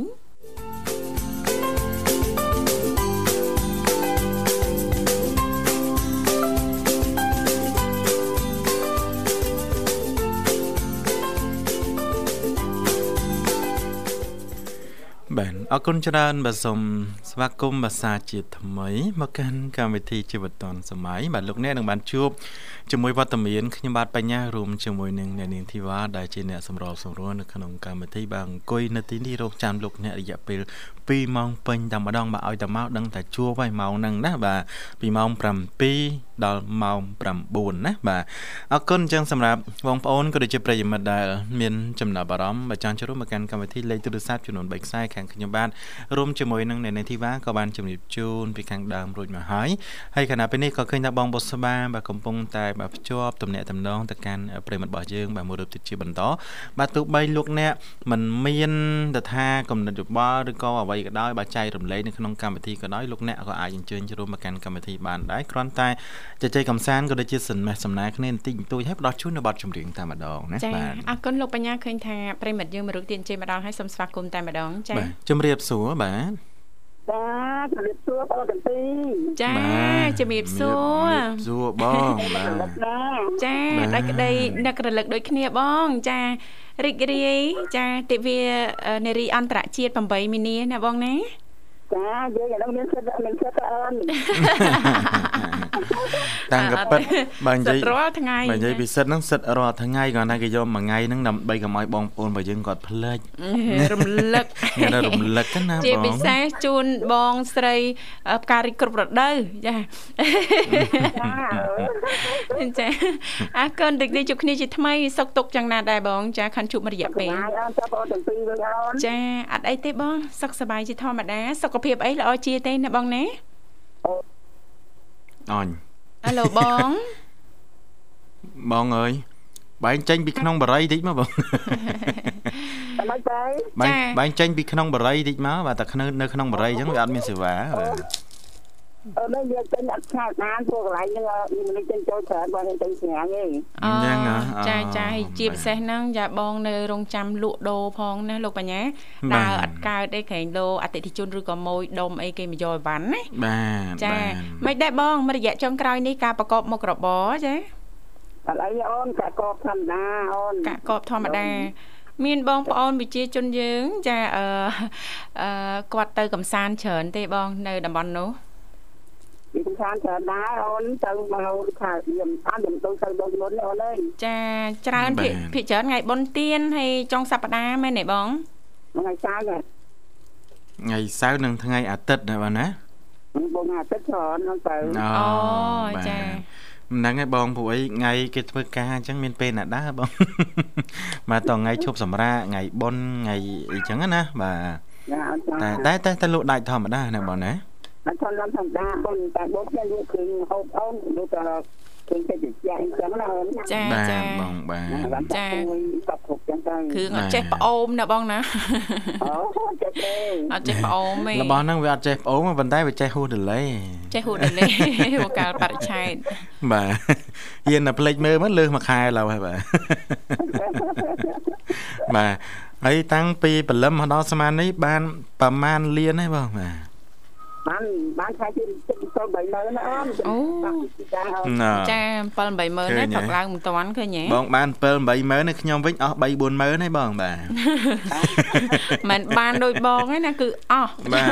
Speaker 3: បាទអរគុណច្រើនបាទសូមស្វាគមន៍ភាសាជាថ្មីមកកាន់កម្មវិធីជីវិតឌុនសម័យបាទលោកអ្នកនឹងបានជួបជាមួយវត្តមានខ្ញុំបាទបញ្ញារួមជាមួយនឹងអ្នកនាងធីវ៉ាដែលជាអ្នកសម្របសម្រួលនៅក្នុងកម្មវិធីបាទអង្គុយនៅទីនេះរងចាំលោកអ្នករយៈពេល2ម៉ោងពេញតែម្ដងបាទឲ្យតែមកដឹងតែជួបហើយម៉ោងហ្នឹងណាបាទពីម៉ោង7ដល់ម៉ោង9ណាបាទអរគុណអញ្ចឹងសម្រាប់បងប្អូនក៏ដូចជាប្រិយមិត្តដែលមានចំណាប់អារម្មណ៍បើចង់ចូលរួមមកកាន់កម្មវិធីលេខទូរស័ព្ទចំនួន3ខ្សែខាងខ្ញុំបាទរួមជាមួយនឹងអ្នកនាងធីវ៉ាក៏បានជំរាបជូនពីខាងដើមរួចមកហើយហើយខណៈពេលនេះក៏ឃើញថាបងបុស្បាបាទកំពុងតែបាទភ្ជាប់ទំនាក់ទំនងទៅកាន់ប្រិយមិត្តរបស់យើងបាទមួយរូបទៀតជាបន្តបាទទោះបីលោកអ្នកមិនមានតថាកំណត់យោបល់ឬក៏អ្វីក៏ដោយបាទចែករំលែកនៅក្នុងកម្មវិធីក៏ដោយលោកអ្នកក៏អាចអញ្ជើញចូលរួមមកកាន់កម្មវិធីបានដែរគ្រាន់តែជជែកកំសាន្តក៏ដូចជាសន្មេះសំណាលគ្នាបន្តិចបន្តួចហើយផ្ដោះជូននៅបទចម្រៀងតែម្ដងណា
Speaker 2: ចា
Speaker 3: បាទ
Speaker 2: អរគុណលោកបញ្ញាឃើញថាប្រិមិត្តយើងមករកទៀតអញ្ជើញម្ដងហើយសូមស្វាគមន៍តែម្ដងចា
Speaker 3: បាទជំរាបសួរបាទ
Speaker 4: បាទជំរាបសួរបងកន្ទី
Speaker 2: ចា
Speaker 3: បាទ
Speaker 2: ជំរាបសួរ
Speaker 3: ជំរាបសួរបងបាទ
Speaker 4: ណា
Speaker 2: ចា
Speaker 3: បាទ
Speaker 2: ដល់ក្តីនឹករលឹកដូចគ្នាបងចារីករាយចាទិវាអឺនារីអន្តរជាតិ8មីនាណាបង ណា
Speaker 4: ចាយើងឥឡូវមានសិទ្ធិមានសិទ្ធិអូន
Speaker 3: តាំងកពិតបើនិ
Speaker 2: ស
Speaker 3: យាយ
Speaker 2: ត្វរាល់ថ្ងៃ
Speaker 3: បើនិយាយពីសិទ្ធហ្នឹងសិទ្ធរាល់ថ្ងៃគាត់ថាគេយកមួយថ្ងៃហ្នឹងដើម្បីកុំឲ្យបងប្អូនរបស់យើងគាត់ភ្លេច
Speaker 2: រំលឹក
Speaker 3: គេថារំលឹកហ្នឹងណា
Speaker 2: ជា
Speaker 3: បង
Speaker 2: ពិសេសជូនបងស្រីអឺផ្ការីកគ្រប់រដូវ ចាចាអរគុណរីករាយជួបគ្នាជាថ្មីសុខទុក្ខយ៉ាងណាដែរបង ចាខាន់ជួបមួយរយៈពេល
Speaker 4: ហើយអូនចាប់បងកន្ទីវិញអូន
Speaker 2: ចាអត់អីទេបង សុខសប្បាយជាធម្មតាសុខភាពអីល្អជាទេណាបងណា
Speaker 3: អញ
Speaker 2: ហៅឡូបង
Speaker 3: បងអើយបែងចេញពីក្នុងបរិយតិចមកបង
Speaker 4: តែមិនទៅ
Speaker 3: បែងបែងចេញពីក្នុងបរិយតិចមកបាទតែនៅនៅក្នុងបរិយអញ្ចឹងវាអត់មានសេវាបាទ
Speaker 4: អូនយើងចេញអត់ឆ្ងាយបានព្រោះកន្លែងហ្នឹងមានមនុស្សចេញចូលច្រើនបងយើងចេញស្ងាញ់ទេ
Speaker 3: អញ្ចឹងហ៎អូ
Speaker 2: ចាចាហើយជាពិសេសហ្នឹងយ៉ាបងនៅរងចាំលក់ដូរផងណាលោកបញ្ញា
Speaker 3: បាទ
Speaker 2: ដើរអត់កើតទេក្រែងលោអតិថិជនឬក៏ម៉ួយដុំអីគេមកយកអីវ៉ាន់ណា
Speaker 3: បាទ
Speaker 2: ចា
Speaker 3: បាទ
Speaker 2: មិនដែរបងមួយរយៈចុងក្រោយនេះការប្រកបមុខរបរចា
Speaker 4: អត់អីអូនកាក់កបធម្មតាអូន
Speaker 2: ការប្រកបធម្មតា មានបងប្អូនវិជាជនយើងចាអឺអឺគាត់ទៅកំសាន្តច្រើនទេបងនៅតំបន់នោះ
Speaker 4: និយាយខាងច្រើនដែរអូនទៅមកថាយើងអត់យើងទៅទៅដូចមុនអូនអើយ
Speaker 2: ចាច្រើនភាគភាគច្រើនថ្ងៃបុណ្យទានហើយចុងសប្តាហ៍មែនទេបង
Speaker 4: ថ្ងៃចៅហ្នឹង
Speaker 3: ថ្ងៃសៅរ៍និងថ្ងៃអាទិត្យណាបាទណា
Speaker 4: បងអាទិត្យច្រើនហ្នឹងទៅ
Speaker 3: អូ
Speaker 2: ចា
Speaker 3: ហ្នឹងហើយបងពួកអីថ្ងៃគេធ្វើការអញ្ចឹងមានពេលណាដែរបង បាទតថ្ងៃឈប់សម្រាកថ្ងៃបុណ្យថ្ងៃអីចឹងណាបាទ
Speaker 4: ចាអត់ចង់
Speaker 3: តែ
Speaker 4: តែ
Speaker 3: តែតែតែលក់ដាច់ធម្មតាណាបងណា
Speaker 4: អត់ធន់ដល់ធម្មតាអូនតែបងខ្ញុំលក់គ្រឿងហូបអូនលក់ដល់គ្រឿងកិច្ចជាអីចឹងណាអូន
Speaker 2: ចា
Speaker 3: បាទ
Speaker 2: ចា
Speaker 3: បងបាទ
Speaker 4: ចាសពគ្រប់ចឹងទៅ
Speaker 2: គ្រឿងអត់
Speaker 3: បាទ
Speaker 2: ចេះប្អូមណាបងណា
Speaker 4: អូចេះទេ
Speaker 2: អត់ចេះប្អូមទេ
Speaker 3: របស់ហ្នឹងវាអត់ចេះប្អូនប៉ុន្តែវាចេះហួសដលេ
Speaker 2: ចេះ ហូតដលេមកកាលបរិឆេទ
Speaker 3: បាទហ៊ានតែភ្លេចមើលមកលើសមួយខែឡើយហើយបាទ បាទហើយតាំងពីព្រលឹមមកដល់ស្មាននេះបានប្រមាណលានទេបងបាទ
Speaker 4: បានបានខែជិះចិត្តទៅ30000ណាអូនចាអូន
Speaker 2: ចា7 8ម៉ឺន
Speaker 3: ឃើ
Speaker 2: ទេ
Speaker 3: ញ
Speaker 2: ផឹក
Speaker 3: ហើយ
Speaker 2: ឡើងមិនតាន់ឃើញទេ
Speaker 3: បងបាន7 8ម៉ឺនហើយខ្ញុំវិញអស់3 4ម៉ឺនហើយបងបាទ
Speaker 2: មិនបានដូចបងឯណាគឺអស់
Speaker 3: បាទ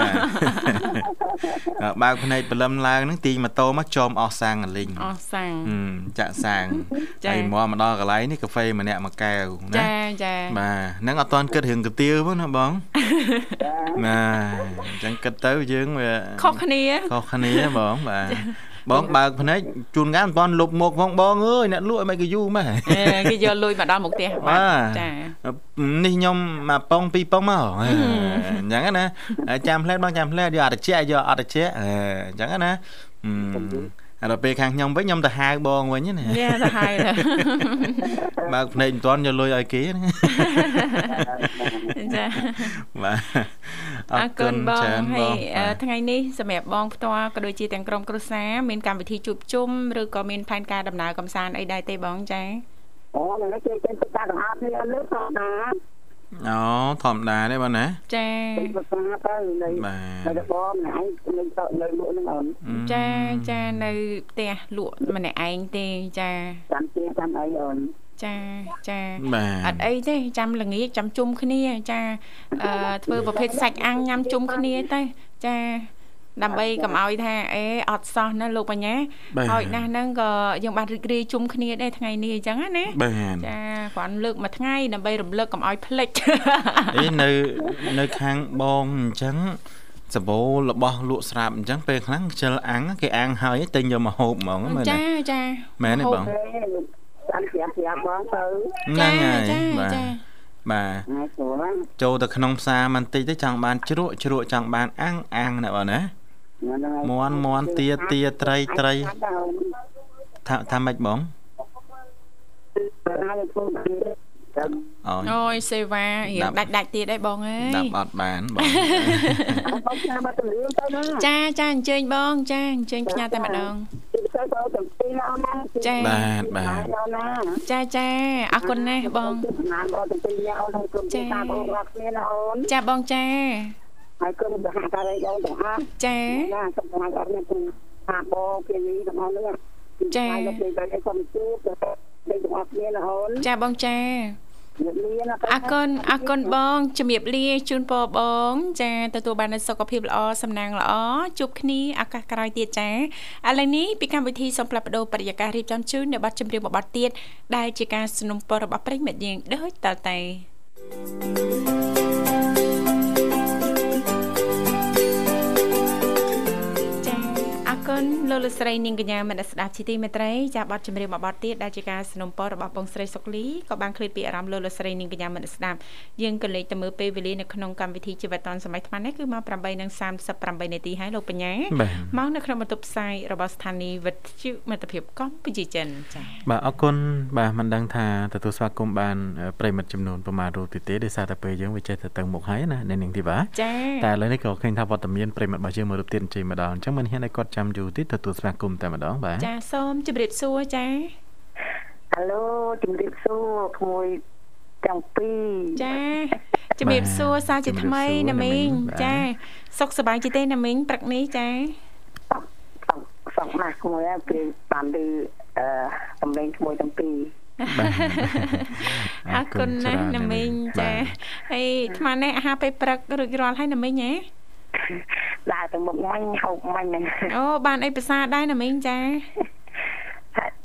Speaker 3: អ่าបើកភ្នែកព្រលឹមឡើងហ្នឹងទីងម៉ូតូមកចោមអស់សាំងកលិញ
Speaker 2: អស់សាំង
Speaker 3: ហឹមចាក់សាំង
Speaker 2: ចា
Speaker 3: ហើយមកមកដល់កន្លែងនេះកាហ្វេម្នាក់មួយកែវណា
Speaker 2: ចាចា
Speaker 3: បាទហ្នឹងអត់តាន់គិតរឿងកាទៀវផងណាបងបាទអញ្ចឹងគិតទៅយើងវា
Speaker 2: ខុសគ្នា
Speaker 3: ខុសគ្នាបងបាទបងបើកភ្នែកជួនកាលមិនតាន់លុបមុខផងបងអើយអ្នកលក់ឲ្យមិនគេយូរម៉េះ
Speaker 2: អេគេយកលុយមកដល់មុខផ្ទះ
Speaker 3: បា
Speaker 2: បាទ ទចា
Speaker 3: នេះខ្ញុំមកប៉ុងពីរប៉ុងមកអញ្ចឹងណាចាំផ្លែតបងចាំផ្លែតយកអត់ត្រជាក់យកអត់ត្រជាក់អញ្ចឹងណាអឺហើយដល់ពេលខាងខ្ញុំវិញខ្ញុំទៅហៅបងវិញណា
Speaker 2: នេះទៅហើយ ណា
Speaker 3: បើកភ្នែកមិនទាន់យកលុយឲ្យគេណា
Speaker 2: ចា
Speaker 3: បាទ
Speaker 2: អរគុណបង
Speaker 3: ច្រើន
Speaker 2: ហើយអឺ
Speaker 3: បាទ
Speaker 2: ថ្ងៃនេះសម្រាប់បងផ្ទាល់ក៏ដូចជាទាំងក្រុមគ្រួសារមានកម្មវិធីជួបជុំឬក៏មានផែនការដំណើរកំសាន្តអីដែរទេបងចា
Speaker 4: អូហ្នឹងគេគេទៅតាមអត់នេះលើធម្មតា
Speaker 3: អូធម្មតាទេបងណា
Speaker 2: ចា
Speaker 4: ទៅប្រសាទៅនៃ
Speaker 3: បាទ
Speaker 4: នៅបម្នាក់ឯងនៅនៅលក់ហ្នឹងអូន
Speaker 2: ចាចានៅផ្ទះលក់ម្នាក់ឯងទេចា
Speaker 4: ចាំទៀចាំអីអូន
Speaker 2: ចាចា
Speaker 3: បា
Speaker 2: អ
Speaker 3: ទ
Speaker 2: ត់អីទេចាំល្ងាចចាំជុំគ្នាចាអឺធ្វើប្រភេទសាច់អាំងញ៉ាំជុំគ្នាទៅចាដើម្បីកុំឲ្យថាអេអត់សោះណាលោកបញ្ញា
Speaker 3: បាទ
Speaker 2: ហើយណាស់ហ្នឹងក៏យើងបានរីករាយជុំគ្នាដែរថ្ងៃនេះអញ្ចឹងណាណា
Speaker 3: បាទ
Speaker 2: ចាគ្រាន់លើកមួយថ្ងៃដើម្បីរំលឹកកុំឲ្យភ្លេច
Speaker 3: អីនៅនៅខាងបងអញ្ចឹងសបោរបស់លក់ស្រាប់អញ្ចឹងពេលខ្លះខ្ជិលអាំងគេអាំងហើយតែញយកមកហូបហ្មងមើលណា
Speaker 2: ចាចា
Speaker 3: មែនទេបង
Speaker 4: ទេលោកចាំប្រាប់ប្រាប់បង
Speaker 3: ហ
Speaker 4: ទៅ
Speaker 3: ្នឹងហើយ
Speaker 2: ចា
Speaker 3: បាទ
Speaker 2: ចា
Speaker 3: បាទ
Speaker 4: ថ្ងៃស្រួលហ្នឹង
Speaker 3: ចូលទៅក្នុងផ្សារបន្តិចទៅចង់បានជ្រក់ជ្រក់ចង់បានអាំងអាំងណាបងណា
Speaker 4: ហើយ
Speaker 3: មន់មន់ទាទាត្រីត្រី
Speaker 4: អាចទៅអូន
Speaker 3: ថាថាម៉េចបង
Speaker 4: ទៅហើយធ្វើបានទៅ
Speaker 3: អូយ
Speaker 2: អូយសេវារៀ
Speaker 3: ដា
Speaker 2: ង
Speaker 3: ប់
Speaker 2: ដាច់ដាច់ទៀតឯងបងអើ
Speaker 3: ដា
Speaker 2: យ
Speaker 3: ប់អ ត់បានបង
Speaker 4: បងចាំមកទៅលឿនទៅណា
Speaker 2: ចាចាអញ្ជើញបងចាអញ្ជើញផ្ញើតែម្ដង
Speaker 4: ទៅទៅទាំងពីរអូនណា
Speaker 2: ចា
Speaker 3: បាទបាទ
Speaker 4: អូនណា
Speaker 2: ចាចាអរគុណណាស់បង
Speaker 4: ចំណានបងទាំងពីរអូនហើយគុំ
Speaker 2: ចា
Speaker 4: តាមបងរកគ្នាណាអូន
Speaker 2: ចាបងចា
Speaker 4: ហើយគុំទៅហៅតារីអូនទាំងអស់
Speaker 2: ចា
Speaker 4: ណាសុំថ្ងៃអត់មានគុំថាបងគេនេះទាំងអស់នេះថ្ងៃនេះទៅទៅសុំជួបទៅទៅទាំងអស់គ្នាណាអូន
Speaker 2: ចាបងចា
Speaker 4: លោកលៀន
Speaker 2: អរគុណអរគុណបងជំរាបលាជូនពរបង ចាទទួលបាននូវសុខភាពល្អសំណាងល្អជួបគ្នាឱកាសក្រោយទៀតចាឥឡូវនេះពីកម្មវិធីសូមផ្លាប់បដោបរិយាកាសរៀបចំជូននៅប័ណ្ណចម្រៀងមួយប័ណ្ណទៀតដែលជាការสนับสนุนរបស់ប្រិយមិត្តយើងដូចតទៅចាអរគុណលោកលោកស្រីនាងកញ្ញាមនស្សស្ដាប់ជីទីមេត្រីចាប័ណ្ណចម្រៀងមួយប័ណ្ណទៀតដែលជាការสนับสนุនរបស់បងស្រីសុកលីក៏បានឃ្លាតពីអារម្មណ៍លោកលោកស្រីនាងកញ្ញាមនស្សស្ដាប់យើងក៏លេចទៅមើលពេលវេលានៅក្នុងកម្មវិធីជីវិតឌុនសម័យថ្មនេះគឺម៉ោង8:38នាទីហើយលោកបញ្ញា
Speaker 3: បា
Speaker 2: មក
Speaker 3: ទ
Speaker 2: នៅក្នុងបន្ទប់ផ្សាយរបស់ស្ថានីយ៍វិទ្យុមិត្តភាពកម្ពុជាចិនចា៎
Speaker 3: បាទអរគុណបាទមិនដឹងថាទទួលស្វាគមន៍បានអឺប្រិមិត្តចំនួនប្រមាណរូបទៀតទេដោយសារតែពេលយើងវាចេះតែតឹងមុខហើយណាអ្នកនាងធីវ៉ា
Speaker 2: ចា
Speaker 3: តែឥឡូវនេះក៏ឃើញថាវត្តមានប្រិមត្តរបស់យើងមួយរូបទៀតអញ្ជើញមកដល់អញ្ចឹងមិនហ៊ានឲ្យគាត់ចាំយូរទេទទួលស្វាគមន៍តែម្ដងបាទ
Speaker 2: ចាសូមជម្រាបសួរចា
Speaker 4: ហៅឡូជំរាបសួរក្មួយទាំងពីរ
Speaker 2: ចាជម្រាបសួរសារជាថ្មីណាមីងចាសុខសប្បាយជាទេណាមីងព្រឹកនេះចា
Speaker 4: សុកសុកណាស់ក្មួយហើយពេលបានឮអឺសំឡេងក្មួយទាំងពីរ
Speaker 2: អរគុណណាស់ណាមីងចាហើយអាត្មានេះអាហារពេលព្រឹករួចរាល់ហើយណាមីងហ៎
Speaker 4: ដើ រទៅមុខមិញហូបមិញហ្នឹង
Speaker 2: អូបានអីប្រសាដែរណាមីងចា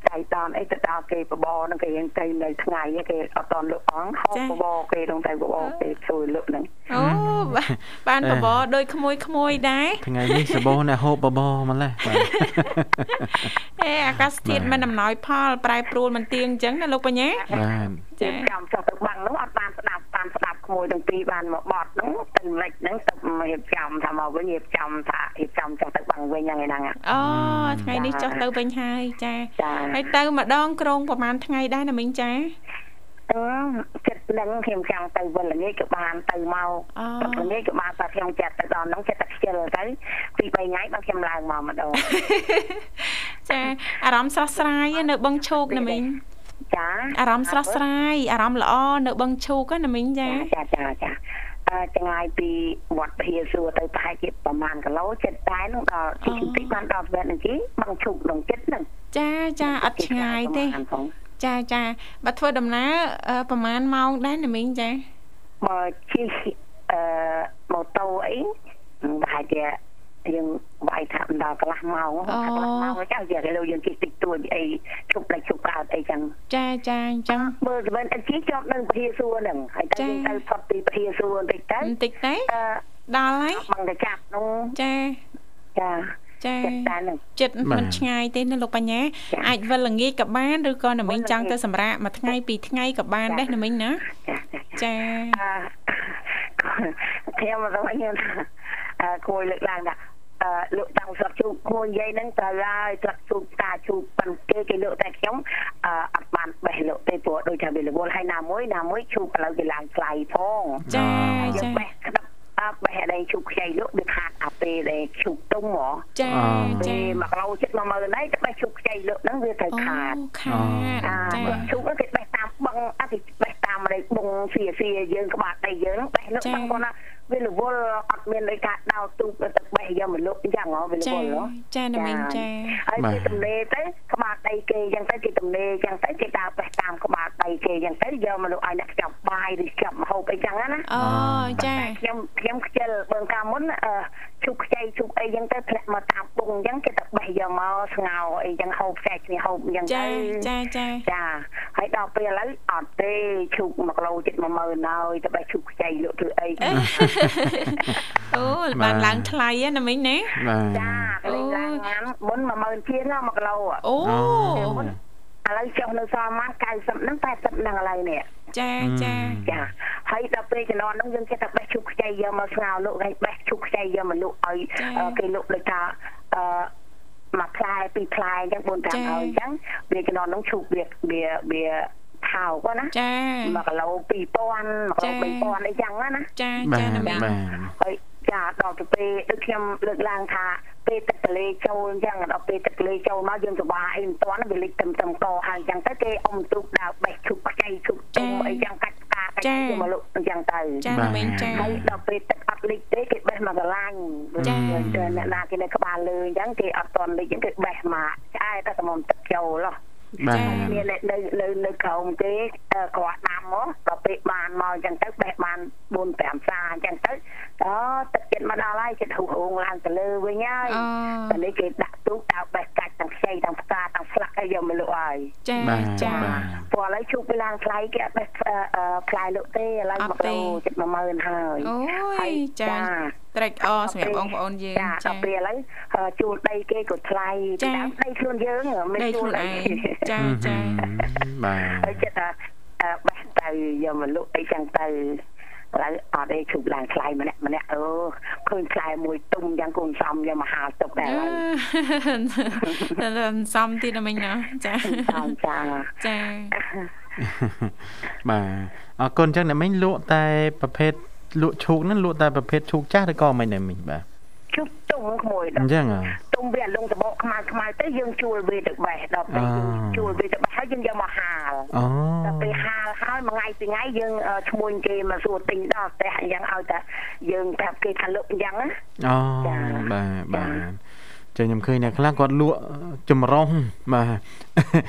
Speaker 4: តែ តាមអីទៅដល់គេបបរហ្នឹងគេហ្នឹងទៅនៅថ្ងៃហ្នឹងគេអត់តន់លើកអង្គហោ
Speaker 2: ចា៎
Speaker 4: បបរគេហ្នឹងទៅបបរគេជួយលើកហ្នឹង
Speaker 2: អូបាទបានបបរដូចក្មួយក្មួយៗដែរ
Speaker 3: ថ្ងៃនេះសបោអ្នកហូបបបរម្ល៉េះបាទ
Speaker 2: អេអាកាសធាតុ
Speaker 3: បា
Speaker 2: មិន នអំណោយផលប្រែប្រួលមិនទៀងអញ្ចឹងណាលោកបញ្ញា
Speaker 3: បាទ
Speaker 2: ចា
Speaker 4: ខ្ញុំចាំចុះទៅបាំងហ្នឹងអត់បានស្ដាប់តាមស្ដាប់ក្មួយទាំងពីរបានមកបត់ហ្នឹងទៅលិចហ្នឹងទៅរៀបចំថាមកវិញរៀបចំថារៀបចំចុះទៅបាំងវិញហ្នឹងឯហ្នឹងហ่ะ
Speaker 2: អូថ្ងៃនេះចុះទៅវិញហើយចា
Speaker 4: ចា៎
Speaker 2: ហើយទៅម្ដងក្រុងប្រហែលថ្ងៃដែរណាមីងចា
Speaker 4: អឺចិត្តនឹងខ្ញុំចង់ទៅវិលល្ងាចក៏បានទៅមក
Speaker 2: អូ
Speaker 4: ទៅល្ងាចក៏បានតែខ្ញុំចិត្តទៅដល់ហ្នឹងចិត្តតែខ្ជិលទៅពីរបីថ្ងៃបានខ្ញុំឡើងមកម្ដង
Speaker 2: ចាអារម្មណ៍ស្រស់ស្រាយនៅបឹងឈូកណាមីង
Speaker 4: ចា
Speaker 2: អារម្មណ៍ស្រស់ស្រាយអារម្មណ៍ល្អនៅបឹងឈូកណាមីងចា
Speaker 4: ចាចាចាអឺចង្អាយពីវត្តភាសួរទៅប្រហែលជាប្រហែលគីឡូចិត្តតែនឹងដល់ទីទីបានដល់វត្តនឹងទីបងឈប់ក្នុងចិត្តនឹង
Speaker 2: ចាចាអត់ឆ្ងាយទេ
Speaker 4: បង
Speaker 2: ចាចាបើធ្វើដំណើរអឺប្រហែលម៉ោងដែរណាមីងចា
Speaker 4: បើជិះអឺម៉ូតូអីប្រហែលជាយើងវាយថាដល់កន្លះម៉ោងកន្លះម៉ោងចៅជាគីឡូយើងជិះតិចតួចអីឈប់ដាច់ឈប់កើតអីចឹង
Speaker 2: ចាចាអញ្ចឹង
Speaker 4: មើលទៅវិញអីជាប់នឹងពធាសួរហ្នឹងហើយ
Speaker 2: ចា៎
Speaker 4: ទៅយើងទៅផុតពីពធាសួរបន្តិចទៅ
Speaker 2: បន្តិចទេ
Speaker 4: អឺ
Speaker 2: ដល់ហើយ
Speaker 4: បងទៅចាប់នោះ
Speaker 2: ចា
Speaker 4: ចា
Speaker 2: ចា
Speaker 4: ចិត្តតែហ្នឹង
Speaker 2: ចិត្តមិនឆ្ងាយទេណាលោកបញ្ញា
Speaker 4: ចា
Speaker 2: អាចវិលល្ងាចក៏បានឬក៏ណាមីង
Speaker 4: វិលល្ងាច
Speaker 2: ចង់ទៅសម្រាកមួយថ្ងៃពីរថ្ងៃក៏បាន
Speaker 4: ចា
Speaker 2: ដែរណាមីងណា
Speaker 4: ចាចា
Speaker 2: ចា
Speaker 4: អឺខ្ញុំមកទៅវិញខ្ញុំថាអឺគួយលើកឡើងថាអឺលោកតាំងស្រុកជូបគួយនិយាយហ្នឹងត្រូវហើយស្រុកជូបផ្កាជូបប៉ុន្តែគេគេលើកតែខ្ញុំអឺអត់បានបេះលើកទេព្រោះដូចថាវារវល់ហើយណាមួយណាមួយជូបឥឡូវវាឡើងថ្លៃផង
Speaker 2: ចា
Speaker 4: យើ
Speaker 2: ចា
Speaker 4: ងបេះក្តាប់អើបេះឲ្យជូបខ្ចីលោកវាខាតអាពេលដែលជូបទុំហ៎
Speaker 2: ចា
Speaker 4: ពី
Speaker 2: ចា
Speaker 4: មួយគីឡូជិត10000ហើយទៅបេះឈូកខ្ចីលើកហ្នឹងវាត្រូវ
Speaker 2: អូ
Speaker 4: ខាត
Speaker 2: ខាត
Speaker 4: អ
Speaker 2: ចា
Speaker 4: ាបើឈូកហ្នឹងគេបេះតាមបឹងអត់គេបេះតាមរៃបឹងសៀសៀយើងក្បាលដីយើងហ្នឹងបេះលើកហ្នឹងគាត់ណាវារវល់អត់មានអីការដោតទូកទៅបេះយកមកលើកអញ្ចឹងហ៎វារវ
Speaker 2: ចា
Speaker 4: ល់ហ៎
Speaker 2: ចាណាមីងចា
Speaker 4: ហើយគេទំនេរទៅក្បាលដីគេអញ្ចឹងទៅគេទំនេរអញ្ចឹងទៅគេដើរបេះតាមក្បាលដីគេអញ្ចឹងទៅយកមកលើកឲ្យអ្នកចាប់បាយឬចាប់ម្ហូបអីចឹងណា
Speaker 2: អូចា
Speaker 4: ខ្ញុំខ្ញុំខ្ជិលបើកាលមុនអឺជុកខ្ចីជុកអីចឹងទៅធ្លាក់មកតាមពុងចឹងគេទៅបេះយកមកស្ងោរអីចឹងហូបខ្ចែកគ្នាហូបចឹង
Speaker 2: ចា
Speaker 4: ទៅ
Speaker 2: ចាចា
Speaker 4: ចាហើយដល់ពេលឥឡូវអត់ទេជុក1គីឡូចិត្ត10000ហើយទៅបេះជុកខ្ចីលក់ធ្វើអី
Speaker 2: អេ អូបានឡើងថ្លៃហ្នឹងណាមីងណា
Speaker 3: បាទ
Speaker 4: ចាកន្លែងឡើងមុន10000ជាង1គីឡូឥ
Speaker 2: អូ
Speaker 4: ឡូវចុះនៅសល់ម៉ា90ហ្នឹង80ហ្នឹងឥឡូវនេះ
Speaker 2: ចាចា
Speaker 4: ចាហើយដល់ពេលជំនាន់ហ្នឹងយើងគេថាបេះជុកខ្ចីយកមកស្ងោរលក់ហើយបេះជុកខ្ចីយកមកលក់ឲ្យ អឺគេលក់ដូចថាអឺមួយផ្លែពីរផ្លែអញ្ចឹង4 5ហើយអញ្ចឹងវាចំណងនោះឈូកវាវាវាថោកហ្នឹងណា
Speaker 2: ចា
Speaker 4: មួយគីឡូ2000មួយគី
Speaker 2: ចា
Speaker 4: ឡូ3000អីចឹងណាណា
Speaker 2: ចា
Speaker 3: បា
Speaker 2: ចា
Speaker 3: ទ
Speaker 2: ណាមីង
Speaker 3: បាទ
Speaker 4: ហើយចាដល់ទៅពេលដូចខ្ញុំលើកឡើងថាពេលទឹកទន្លេចូលអញ្ចឹងដល់ពេលទឹកទន្លេចូលមកយើងសប្បាយអីមិនទាន់វាលិចទឹមទឹមកហើយអញ្ចឹងទៅគេអុំទូកដើរបេះឈូកខ្ចីឈូកទុំអីចឹងកាច់ផ្កាកាច់ឈូកមកលក់អញ្ចឹងទៅ
Speaker 2: ចាណាមីងចា
Speaker 4: ហើយដល់ពេលទឹកអត់លិចទេគេបេះមកកន្លាញ់
Speaker 2: ចា
Speaker 4: ទៅអ្នកណាគេនៅក្បាលលើអញ្ចឹងគេអត់តន់លិចអញ្ចឹងគេបេះមកឆ្អែតតែតាមទឹកចូលហ៎
Speaker 3: បា
Speaker 2: ចា
Speaker 3: ទ
Speaker 4: មាននៅនៅនៅនៅក្រោមគេអឺគាត់ដាំមកដល់ពេលបានមកអញ្ចឹងទៅបេះបាន4 5សាអញ្ចឹងទៅអូទឹកចិត្តមកដល់ហើយចិត្តហូរហងឡើងទៅលើវិញហើយ
Speaker 2: អូ
Speaker 4: តែនេះគេដាក់ទូកដាក់បេះកាច់ទាំងខ្ចីទាំងផ្កាទាំងស្លាក់ឲ្យយកមកលក់ឲ្យ
Speaker 2: ចា
Speaker 3: បាទ
Speaker 2: ចា
Speaker 3: បាទ
Speaker 4: ព្រោះឥឡូវជូបវាឡើងថ្លៃគេអត់បេះអឺអឺផ្លែលក់ទេឥឡូវមកគីឡូចិត្ត10000ហើយ
Speaker 2: អូយចាត្រេកអរសម្រាប់បងប្អូនយើងចា
Speaker 4: ចាដល់ពេលឥឡូវអឺជួលដីគេក៏ថ្លៃ
Speaker 2: ចា
Speaker 4: ពីដើមដីខ្លួនយើងមិន
Speaker 2: ដី
Speaker 4: ជួល
Speaker 2: ខ្លួន
Speaker 4: អី
Speaker 2: ឯង ចាចា
Speaker 3: បាទ
Speaker 4: ហើយចិត្តថាអឺបេះទៅយកមកលក់អីចឹងទៅឥឡូវអត់ទេជួបឡើងថ្លៃម្នាក់ម្នាក់អូឃើញថ្លៃមួយទុំចឹងកូនសំយកមកហាលទុកដែរឥឡូវ
Speaker 2: តែ សំទៀតណាមិញណា ចា
Speaker 4: ចាចា
Speaker 2: ចា
Speaker 3: បាទអរគុណចឹងអ្នកមិញលក់តែប្រភេទលក់ឈូកហ្នឹងលក់តែប្រភេទឈូកចាស់ឬក៏មិនអ្នកមិញបាទ
Speaker 4: ជុបទុំក្មួយ
Speaker 3: អ
Speaker 4: ដល់
Speaker 3: ញ្ចឹង
Speaker 4: ទុំវាអាលងសបកខ្មៅខ្មៅទៅយើងជួលវាទៅបេះដល់ពេលយើង
Speaker 3: អ่า
Speaker 4: ជួលវាទៅបេះហើយយើងយកមកហាល
Speaker 3: អូ
Speaker 4: ដល់ពេលហាលហើយមួយថ្ងៃពីរថ្ងៃយើងអឺឈ្មោះគេមកសួរទិញដល់ផ្ទះអញ្ចឹងឲ្យតែយើងប្រាប់គេថាលុបអញ្ចឹងណា
Speaker 3: អូ
Speaker 4: ចា
Speaker 3: បាទ
Speaker 4: ចា
Speaker 3: បាទចឹងខ្ញុំឃើញអ្នកខ្លះគាត់លក់ចម្រុងបាទ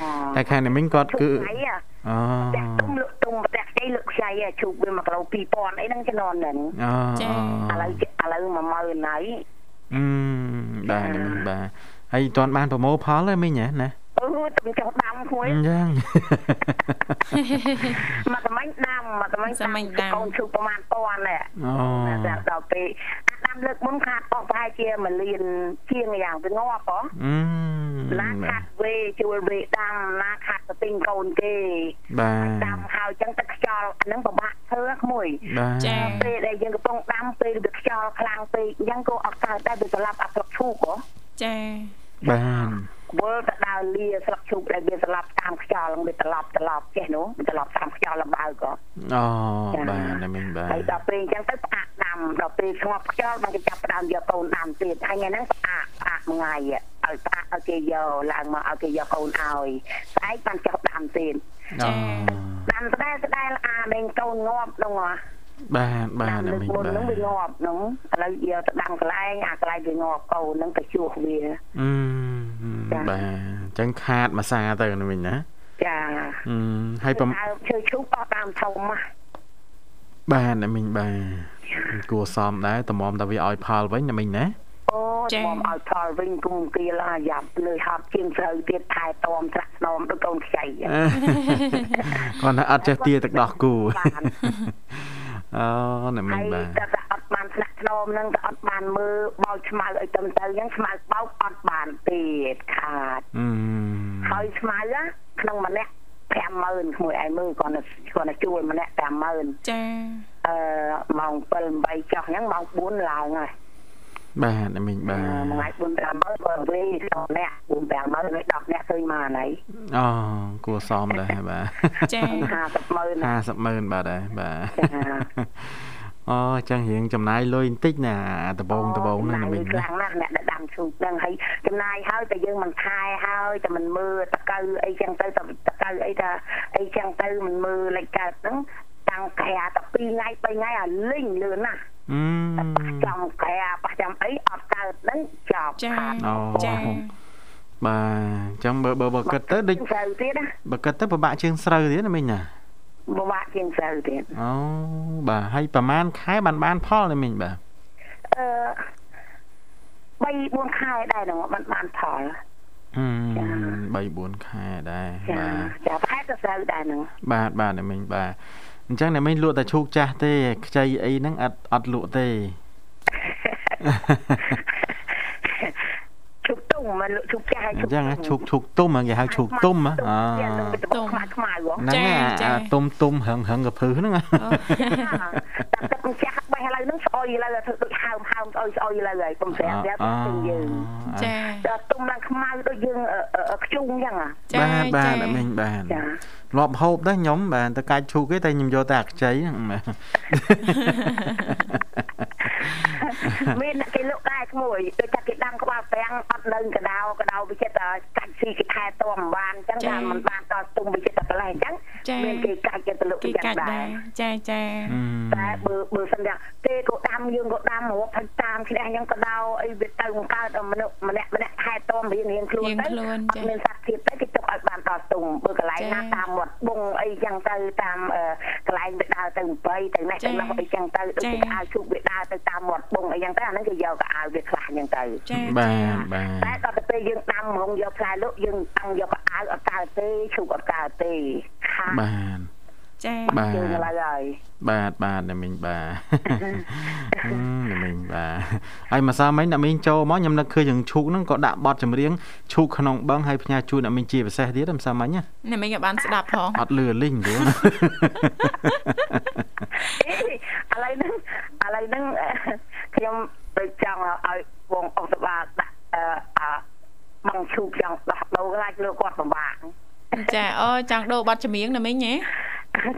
Speaker 4: អូ
Speaker 3: តែខាងអ្នកមិញគាត់
Speaker 4: ជូ
Speaker 3: គឺ
Speaker 4: បថ្ងៃអ่ะ
Speaker 3: អូ
Speaker 4: ផ្ទះទុំលុបទុំផ្ទះខ្ចីលុបខ្ចីអ่ะជូបវា1គីឡូ2000អីហ្នឹងជំនាន់ហ្នឹង
Speaker 3: អូអូ
Speaker 4: ឥឡូវជិះឥឡូវ10000
Speaker 3: អឺបា
Speaker 4: ហើយ
Speaker 3: ទអ្នកមិញបាទហើយមិនទាន់បានប្រមូលផលទេមិញហ៎ណា
Speaker 4: អូយ ទំចង់ដាំមួយ
Speaker 3: យ៉ាង
Speaker 4: មកតំញដាំមកតំញ
Speaker 2: សាមញ្ញដាំ
Speaker 4: កូនឈូកប្រហែលពាន់ណែ
Speaker 3: អូ
Speaker 4: តែដល់ពេលអាដាំលើកមុនខាតអស់ប្រហែលជា1លានជាងយ៉ាងទៅងាប់ហ៎
Speaker 3: អឺ
Speaker 4: ណាខាត់វេជួលវេដាំណាខាត់ទៅទិញកូនគេ
Speaker 3: បា
Speaker 4: ដាំហើយចឹងទឹកខ្យល់ហ្នឹងពិបាកធ្វើមួយ
Speaker 3: ទបាទ
Speaker 2: ចា៎
Speaker 4: ពេលដែលយើងកំពុងដាំពេលវាខ្យល់ខ្លាំងពេកអញ្ចឹងក៏អត់កើតដែរវាស្លាប់អាស្លឹកឈូកហ៎
Speaker 2: ចា
Speaker 3: បាន
Speaker 4: វិលទៅដើរលាស្លឹកឈូកដែលវាស្លាប់តាមខ្យល់ហ្នឹងវាត្រឡប់ត្រឡប់ចេះនោះវាត្រឡប់តាមខ្យល់លំអៅក៏
Speaker 3: អូ
Speaker 4: ចា៎
Speaker 3: បានតែមិញបាទ
Speaker 4: ហើយដល់ពេលអញ្ចឹងទៅផ្អាកដាំដល់ពេលស្ងប់ខ្យល់បានគេចាប់ផ្ដើមយកកូនដាំទៀតហើយថ្ងៃហ្នឹងផ្អាកផ្អាកមួយថ្ងៃឲ្យផ្អាកឲ្យគេយកឡើងមកឲ្យគេយកកូនឲ្យស្អែកបានចាប់ដាំទៀត
Speaker 3: អូ
Speaker 4: ដាំស្ដែលស្ដែលអាដេញកូនងាប់ហ្នឹងហ៎
Speaker 3: បានបា
Speaker 4: ដាំ
Speaker 3: នតែ
Speaker 4: លើក
Speaker 3: មិញ
Speaker 4: មុន
Speaker 3: បាទ
Speaker 4: ហ្នឹងវាងាប់ហ្នឹងឥឡូវយកទៅដាំកន្លែងអាកន្លែងវាងាប់កូនហ្នឹងទៅជួសវា
Speaker 3: អឺ
Speaker 4: ចា៎
Speaker 3: បាទអញ្ចឹងខាតមួយសាទៅណាមិញណា
Speaker 4: ចា
Speaker 3: អឺហើយប្រម
Speaker 4: ដើមឈើឈូកអស់ដើមធំហ៎
Speaker 3: បាទណាមិញបាទគួរសមដែរតម្រាំតែវាឲ្យផលវិញណាមិញណា
Speaker 4: អូខ្ញុំឲ្យផលវិញគុំគៀលអាយ៉ាប់លើហប់ជាងស្រូវទៀតថែតមត្រាក់ស្នមដូចកូនខ្ចីអឺ
Speaker 3: គាត់ថាអត់ចេះទាទឹកដោះគូ
Speaker 4: បាន
Speaker 3: អូណាមិញ
Speaker 4: ហើយ
Speaker 3: បាទ
Speaker 4: តែតែអត់បានស្នាក់ស្នមហ្នឹងក៏អត់បានមើលបោចស្មៅឲ្យទៅទៅអញ្ចឹងស្មៅបោកអត់បានទៀតខាត
Speaker 3: អឺ
Speaker 4: ហើយស្មៅណាក្នុងម្នាក់50000ក្មួយឯងមើលគាត់ណាគាត់ណាជួលម្នាក់50000
Speaker 2: ចា
Speaker 4: អឺម៉ោង7 8ចុះហ្នឹងម៉ោង4ឡើងហើយ
Speaker 3: បាទណាមិញបាទ
Speaker 4: ថ្ងៃ4 5ម៉ឺនបើវិញ10នាក់4 5ម៉ឺនហើយ10នាក់ឃើញមកណៃ
Speaker 3: អូគួរសមដែរបាទ
Speaker 2: ចា
Speaker 4: 50ម៉ឺន
Speaker 3: 50ម៉ឺនបាទដែរបាទ
Speaker 4: ចា៎
Speaker 3: អូអញ្ចឹងរៀងចំណាយលុយបន្តិចណាអាដបងដបងហ្នឹងណាមិញណា
Speaker 4: ខ្លាំងណាស់អ្នកដែលដាំឈូកហ្នឹងហើយចំណាយហើយតែយើងមិនថែហើយតែមិនមើលតកៅអីចឹងទៅតតកៅអីថាអីចឹងទៅមិនមើលលេខកើតហ្នឹងតាំងខែតែ2ថ្ងៃ3ថ្ងៃអាលិញលឿនណាស់
Speaker 3: អឺ
Speaker 4: តែប៉ះចំខែប៉ះចំអីអត់កើតហ្នឹងចប់
Speaker 2: ចា
Speaker 4: ខាត
Speaker 3: អូ
Speaker 2: ចា
Speaker 3: បាទអញ្ចឹងបើបើបើគិតទៅដូច
Speaker 4: ទៅទៀតណា
Speaker 3: បើគិតទៅពិបាកជាងស្រូវទៀតណាមិញណា
Speaker 4: ពិបាកជាងទៅទៀត
Speaker 3: អូបាទហើយប្រហែលខែបានបានផលទេមិញបាទ
Speaker 4: អឺ3 4ខែដែរហ្នឹងបានបានផល
Speaker 3: អឺ3 4ខែដែរ
Speaker 4: ចា
Speaker 3: បាទ
Speaker 4: ចាប្រហែលទៅស្រូវដែរហ្នឹង
Speaker 3: បាទបាទតែមិញបាទអញ្ចឹងតែមិញលក់តែឈូកចាស់ទេខ្ចីអីហ្នឹងអត់អត់លក់ទេ
Speaker 4: ឈប់ទុំមកលក់ឈប់ចាស់
Speaker 3: អញ្ចឹងណាឈូកឈូកទុំហ្នឹងគេហៅឈូកទុំហ៎អ
Speaker 4: ទុំខ្មៅខ្មៅហ៎
Speaker 3: ហ្នឹងណាអាទុំទុំហឹងហឹងកភឺហ្នឹង ណា
Speaker 4: តែទឹកចាស់បេះឥឡូវហ្នឹងស្អុយឥឡូវធ្វើដូចហើមហើមស្អុយស្អុយឥឡូវហើយកុំស្រាប់ស្រាប់ទាំងយើង
Speaker 2: ចា
Speaker 4: ដល់ទុំឡើងខ្មៅដូចយើងខ្ជុងអញ្ចឹង
Speaker 2: ចា
Speaker 3: បាទបាទតែ
Speaker 2: ចា
Speaker 3: មិញបាទ
Speaker 4: ចា
Speaker 3: លាប់ហូបដែរខ្ញុំបាទតែកាច់ឈូកទេតែខ្ញុំយកតែអាខ្ចីហ្នឹងបាទ
Speaker 4: មានអ្នកគេលក់ដែរឈ្មោះដូចថាគេដាំក្បាលប្រាំងអត់នៅកដៅកដៅវាចិត្តកាច់ស៊ីគេខែតមបានអញ្ចឹងថាมันបានដល់ទុំវាចិត្តតែប្រឡែអញ្ចឹង
Speaker 2: ចា
Speaker 4: មានគេកាច់ចិត្តលុក
Speaker 2: គេកា
Speaker 4: យ៉ាង
Speaker 2: ច់ដែ
Speaker 4: ដែ
Speaker 2: រ រចាចា
Speaker 4: តែបើបើសិនថាគេក៏ដាំយើងក៏ដាំរាប់ហើយតាមគ្នាអញ្ចឹងក៏ដោអីវាទៅបង្កើតឲ្យមនុស្សម្នាក់ម្នាក់ខែតមរៀងរៀងខ្លួន
Speaker 2: រៀង
Speaker 4: ទៅ
Speaker 2: ខ្លួន
Speaker 4: អត់
Speaker 2: ចា
Speaker 4: មានសកម្មភាពទេគេទុកឲ្យបានដល់ទុំបើកន្លែង
Speaker 2: ចា
Speaker 4: ណាតាមមាត់បងអីអញ្ចឹងទៅតាមកន្លែងវាដើរទៅ8ទៅណេះ
Speaker 2: ចា
Speaker 4: ទៅនោះអីអញ្ចឹងទៅដូច
Speaker 2: ចា
Speaker 4: គេកៅជូកវាដើរទៅតាមមាត់បងអីអញ្ចឹងទៅអាហ្នឹងគេយកកៅអៅវាខ្លះអញ្ចឹងទៅ
Speaker 2: ចា
Speaker 3: បាទបាទ
Speaker 4: តែដល់ទៅពេលយើងដាំរងយកផ្លែលក់យើងតាំងយកកៅអៅអត់កើតទេជូកអត់កើតទេខាត
Speaker 3: បាទ
Speaker 2: ចា
Speaker 3: បាទ
Speaker 4: យើងឥឡូវហើយ
Speaker 3: បាទបាទអ្នកមីងបាទ អឺអ្នកមីងបាទហើយម្សិលមិញអ្នកមីងចូលមកខ្ញុំនឹកឃើញយើងឈូកហ្នឹងក៏ដាក់បទចម្រៀងឈូកក្នុងបឹងហើយផ្ញើជូនអ្នកមីងជាពិសេសទៀតម្សិលមិញណា
Speaker 2: នេះមិញក៏បានស្ដាប់ផង
Speaker 3: អត់លឺលីងទេ
Speaker 4: អេឥឡូវហ្នឹងឥឡូវហ្នឹងអឺខ្ញុំទៅចង់ឲ្យបងអុកសបាដាក់អឺអាបងឈូកចង់ដោះដូរខ្លាចលើគាត់ពិបាក
Speaker 2: ចាអូចង់ដូរប័ណ្ណចម្រៀងណាមិញហ៎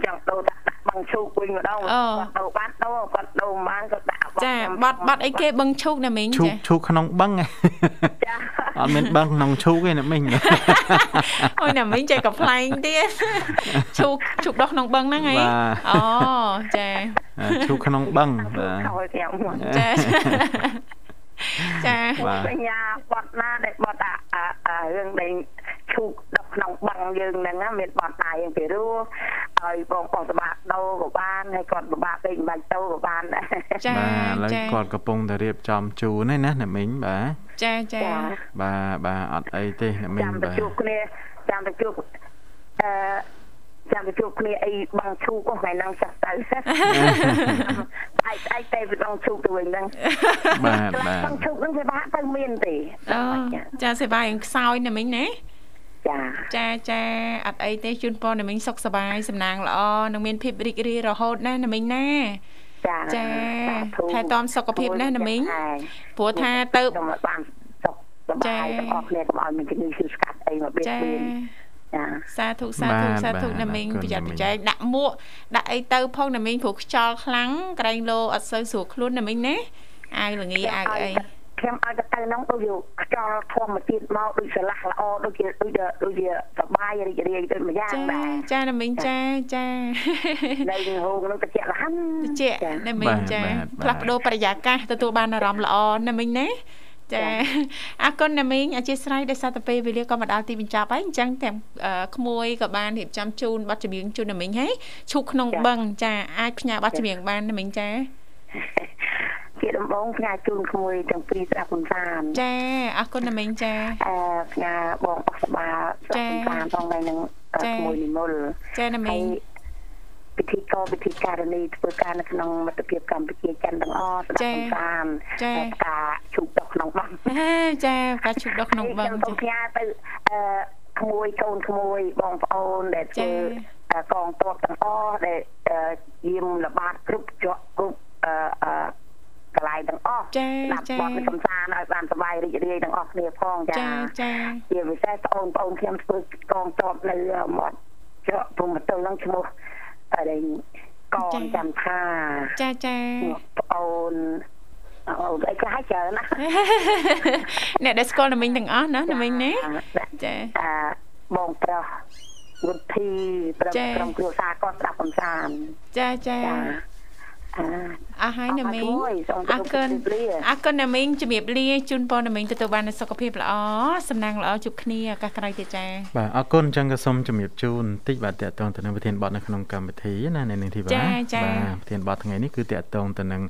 Speaker 4: ចង់ដូរដាក់បងឈូកវិញម្ដង
Speaker 2: អូ
Speaker 4: គាត់ដូរបានដូរគាត់ដូរមិនបានគាត់ដាក់
Speaker 2: ចា
Speaker 4: បងខ្ញុំ
Speaker 2: ប័ណ្ណប័ណ្ណអីគេបឹងឈូកណាមិញ
Speaker 3: ឈូក
Speaker 2: ចា
Speaker 3: ឈូកក្នុងបឹងហ៎
Speaker 4: ចា
Speaker 3: អត់មានបឹងក្នុងឈូកទេអ្នកមីង បាទ
Speaker 2: អូយណាមិញចេះកំ plaign ទៀតឈូកឈូកដោះក្នុងបឹងហ្នឹងហ៎អូចា
Speaker 3: ឈូកក្នុងបឹងបាទ
Speaker 4: ខ້ອຍខ្ញុំមក
Speaker 2: ចាចា
Speaker 3: បាទ
Speaker 4: បញ្ញាបត់ណាដែលបត់អាអាអារឿងដែលឈូកដល់ក្នុងបឹងយើងហ្នឹងណាមានបត់ដែរយើងពីរោះឲ្យបងបងសបាដូរក៏បានហើយគាត់ពិបាកពេកមិនបាច់ដូរក៏បានដែរ
Speaker 2: ចា
Speaker 3: បាទឥឡូវ
Speaker 2: ចា
Speaker 3: គាត់កំពុងតែរៀបចំជូនឯណាអ្នកមីងបាទ
Speaker 2: ចាចា
Speaker 4: ចា
Speaker 3: បាទបាទអត់អីទេអ្នកមីង
Speaker 4: ចាំទៅ
Speaker 3: បាទ
Speaker 4: ជួបគ្នា ចាំទៅជួបអឺចាំទៅជួបគ្នាអីបងឈូកហ្នឹងហ្នឹងចាស់ ទៅស្អែកស្អែកតែវាបងឈូកទៅវិញហ្នឹង
Speaker 3: បាទបាទ
Speaker 4: បងឈូកហ្នឹងវាបាក់ទៅមានទេ
Speaker 2: អូចាសេវាយ៉ាងខ្សោយណាមិញណា
Speaker 4: ចា
Speaker 2: ចាចាអត់អីទេជូនពរណាមិញសុខសប្បាយសំណាងល្អនឹងមានភាពរីករាយរហូតណាណាមិញណា
Speaker 4: ចា
Speaker 2: ចា
Speaker 4: សាធុ
Speaker 2: ថែទាំសុខភាពណាណាមីង
Speaker 4: ចាឯង
Speaker 2: ព្រោះថាទៅ
Speaker 4: ខ្ញុំបានសុខស
Speaker 2: ចា
Speaker 4: ប្បាយទាំងអស់គ្នាកុំឲ្យមានជំងឺឈឺស្កាត់អីមកបៀត
Speaker 2: ចា
Speaker 4: បៀនចា
Speaker 2: សាធុសាធុ
Speaker 3: បាទ
Speaker 2: សាធុ
Speaker 3: បាទ
Speaker 2: ណាមីង
Speaker 3: អរគុណ
Speaker 2: ប្រយ័ត្ន
Speaker 3: ណា
Speaker 2: ប្រយែង
Speaker 3: មីង
Speaker 2: ដាក់មួកដាក់អីទៅផងណាមីងព្រោះខ្យល់ខ្លាំងក្រែងលោអត់សូវស្រួលខ្លួនណាមីងណាអាវល្ងីអាវអី
Speaker 4: ខ្ញុំឲ្យទៅទៅហ្នឹងដូចយកខ្យល់ធម្មជាតិមកដូចស្រឡះល្អដូចជាដូចជាដូចជាសប្បាយរីករាយដូចម្យ៉ាង
Speaker 2: ចា
Speaker 4: ដែរ
Speaker 2: ចាណាមីងចាចា
Speaker 4: នៅក្នុងហូងហ្នឹងតិចរហ័ន
Speaker 2: តិចណាមី
Speaker 3: បា
Speaker 2: ង
Speaker 3: ទ
Speaker 2: ចា
Speaker 3: បាទបាទ
Speaker 2: ផ្លាស់ប្ដូរបរិយាកាសទទួលបានអារម្មណ៍ល្អណាមីងណាចាអរគុណណាមីងអធិស្ឋានដែលសារទៅពេលវេលាក៏មកដល់ទីបញ្ចប់ហើយអញ្ចឹងទាំងអឺក្មួយក៏បានរៀបចំជូនប័ណ្ណចម្រៀងជូនណាមីងហើយឈូកក្នុងបឹងចាអាចផ្ញើប័ណ្ណចម្រៀងបានណាមីងចា
Speaker 4: ជាដំបងផ្ញើជូនក្មួយទាំងពីរស្រាប់មិនសាន
Speaker 2: ចាអរគុណណាមីងចា
Speaker 4: អឺផ្ញើបងអស់សបាស្រាប់មិនសានផងដែរនឹង
Speaker 2: ចា
Speaker 4: ក្មួយនិមល
Speaker 2: ចាណាមី
Speaker 4: ហើយ
Speaker 2: ង
Speaker 4: ពិធីកោពិធីការនីធ្វើការនៅក្នុងមិត្តភាពកម្ពុជាចិនទាំងអស់ស្ដាប់សំបានតែការជូបដល់ក្នុងបង
Speaker 2: អេចាការជប់ដល់ក្នុងបឹង
Speaker 4: ខ្ញុំផ្ញើទៅអឺក្មួយកូនក្មួយបងប្អូនដែលធ្វើកងទ័ពទាំងអស់ដែលយាមល្បាតគ្រប់ជក់គ្រប់អឺកន្លែងទាំងអស់
Speaker 2: ចា
Speaker 4: ស្ដាប់
Speaker 2: ចា
Speaker 4: បងសំសានឲ្យបានសប្បាយរីករាយទាំងអស់គ្នាផងចា
Speaker 2: ចាចា
Speaker 4: ជាពិសេសបងប្អូនខ្ញុំធ្វើកងតបនៅមាត់ច្រកព្រំប្រទល់ហ្នឹងឈ្មោះអរិញកងចាំថា
Speaker 2: ចាចា
Speaker 4: បងប្អូនអូនអីខ្លះច្រើនណាស់
Speaker 2: អ្នកដែលស្គាល់ណាមីងទាំងអស់ណាណាមីង ណាចា
Speaker 4: អឺបងប្រុសវុធីប្រុស
Speaker 2: ចា៎
Speaker 4: ក្រុមគ្រួសារគាត់ស្ដាប់កំសាន្ត
Speaker 2: ចាចា
Speaker 4: ចាអឺ
Speaker 2: អរហើយណាមីង
Speaker 4: អរគុណសូមគោរព
Speaker 2: អរគុណ
Speaker 4: ជ
Speaker 2: អរគុណ
Speaker 4: ម្រាបលា
Speaker 2: ណាមីងជំរាបលាជូនពរណាមីងទទួលបាននូវសុខភាពល្អសំណាងល្អជួបគ្នាឱកាសក្រោយទៀតចា
Speaker 3: បាទអរគុណអញ្ចឹងក៏សូមជំរាបជូនបន្តិចបាទតកតងទៅនឹងប្រធានបទនៅក្នុងកម្មវិធីណានៅនឹងធីវ៉ាបាទប្រធានបទថ្ងៃនេះគឺតកតងទៅនឹង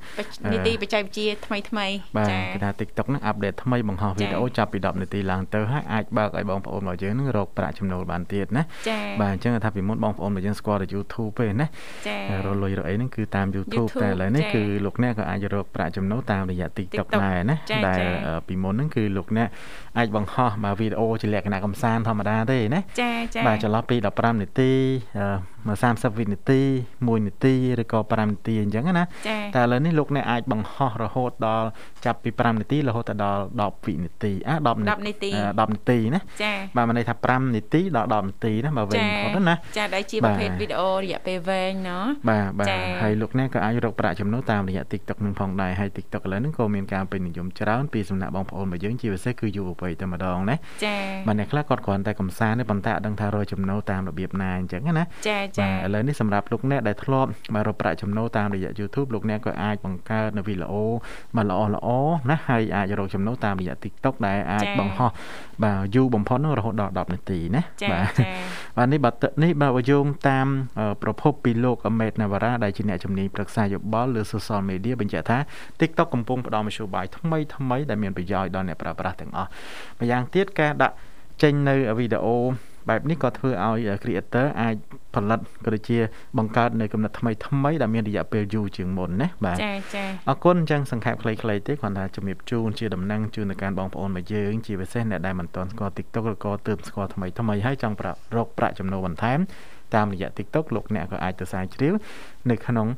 Speaker 2: បច្នីតិបច្ចេកវិទ្យាថ្មីថ្មី
Speaker 3: បាទ
Speaker 2: ចា
Speaker 3: គេថា TikTok ហ្នឹងអាប់ដេតថ្មីបង្ហោះវីដេអូចាប់ពី10នាទីឡើងទៅហើយអាចបើកឲ្យបងប្អូនរបស់យើងហ្នឹងរកប្រាក់ចំណូលបានទៀតណា
Speaker 2: ចា៎
Speaker 3: បាទអញ្ចឹងថាពីមុនបងប្អូនរបស់យើងស្គាល់តែ YouTube ទេណា
Speaker 2: ចា
Speaker 3: រកលុយរកអីហ្នឹងគឺតាម YouTube
Speaker 2: YouTube
Speaker 3: តែឥឡូវនេះ
Speaker 2: ចា៎
Speaker 3: គឺលោកអ្នកក៏អាចរកប្រាក់ចំណូលតាមរយៈ TikTok
Speaker 2: TikTok
Speaker 3: ដែរណា
Speaker 2: ចា៎
Speaker 3: ដែល
Speaker 2: ចា៎
Speaker 3: អឺពីមុនហ្នឹងគឺលោកអ្នកអាចបង្ហោះមកវីដេអូជាលក្ខណៈកំសាន្តធម្មតាទេណា
Speaker 2: ចាចា
Speaker 3: បាទចន្លោះពី15នាទីអឺ30វិនាទី1នាទីឬក៏5នាទីអញ្ចឹងណា
Speaker 2: ចា
Speaker 3: តែឥឡូវនេះលោកអ្នកអាចបង្ហោះរហូតដល់ចាប់ពី5នាទីរហូតដល់10វិនាទីអា10នា
Speaker 2: 10នាទី
Speaker 3: អឺ10នាទីណា
Speaker 2: ចា
Speaker 3: បាទមានន័យថា5នាទីដល់10នាទីណាបើវិញបំផុតណា
Speaker 2: ចាដែលជា
Speaker 3: បា
Speaker 2: ប្រ
Speaker 3: ទ
Speaker 2: ភេទវីដេអូរយៈពេលវែងណោះ
Speaker 3: បាទបាទ
Speaker 2: ចា៎
Speaker 3: ហើយលោកអ្នកក៏អាចរកប្រាក់ចំណូលតាមរយៈ TikTok នឹងផងដែរហើយ TikTok ឥឡូវហ្នឹងក៏មានការពេញនិយមច្រើនពីសំណាក់បងប្អូនរបស់យើងជាពិសេសគឺយុវវ័យតែម្ដងណា
Speaker 2: ចា
Speaker 3: បាទអ្នកខ្លះគាត់គ្រាន់តែកំសាន្តទេប៉ុន្តែអត់ដឹងថារកចំណូលតាមរបៀបណាអញ្ចឹងណា
Speaker 2: ចា
Speaker 3: ចា
Speaker 2: ចា
Speaker 3: ឥឡូវនេះសម្រាប់លោកអ្នកដែលធ្លាប់មករកប្រាក់ចំណូលតាមរយៈ YouTube លោកអ្នកក៏អាចបង្កើតនៅវីដេអូមកល្អល្អណាហើយអាចរកចំណូលតាមរយៈ TikTok ដែលអាចបង្ហោះបាទយូរបំផុតហ្នឹងរហូតដល់10នាទីណា
Speaker 2: ចា
Speaker 3: បាទ
Speaker 2: ចា
Speaker 3: បាទនេះបាទទឹកនេះបាទបើយោងតាមអឺប្រភពពីលោកអមេតណាវរ៉ាដែលជាអ្នកជំនាញប្រឹក្សាយោបល់លើ Social Media បញ្ជាក់ថា TikTok កំពុងផ្ដល់មធ្យោបាយថ្មីថ្មីដែលមានប្រយោជន៍ដល់អ្នកប្រើប្រាស់ទាំងអស់ម្យ៉ាងទៀតការដាក់ ចេញនៅវីដេអូបែបនេះក៏ធ្វើឲ្យ creator អាចផលិតក៏ដូចជាបង្កើតនៅគំនិតថ្មីថ្មីដែលមានរយៈពេលយូរជាងមុនណាបាទ
Speaker 2: ចាចា
Speaker 3: អរគុណអញ្ចឹងសង្ខេបខ្លីៗទេគ្រាន់តែជំរាបជូនជាដំណឹងជូនទៅកាន់បងប្អូនរបស់យើងជាពិសេសអ្នកដែលមិនទាន់ស្គាល់ TikTok ឬក៏ទើបស្គាល់ថ្មីថ្មីហើយចង់ប្រាក់រកប្រាក់ចំណូលបន្ថែមតាមរយៈ TikTok លោកអ្នកក៏អាចទៅស្រាវជ្រាវនៅក្នុង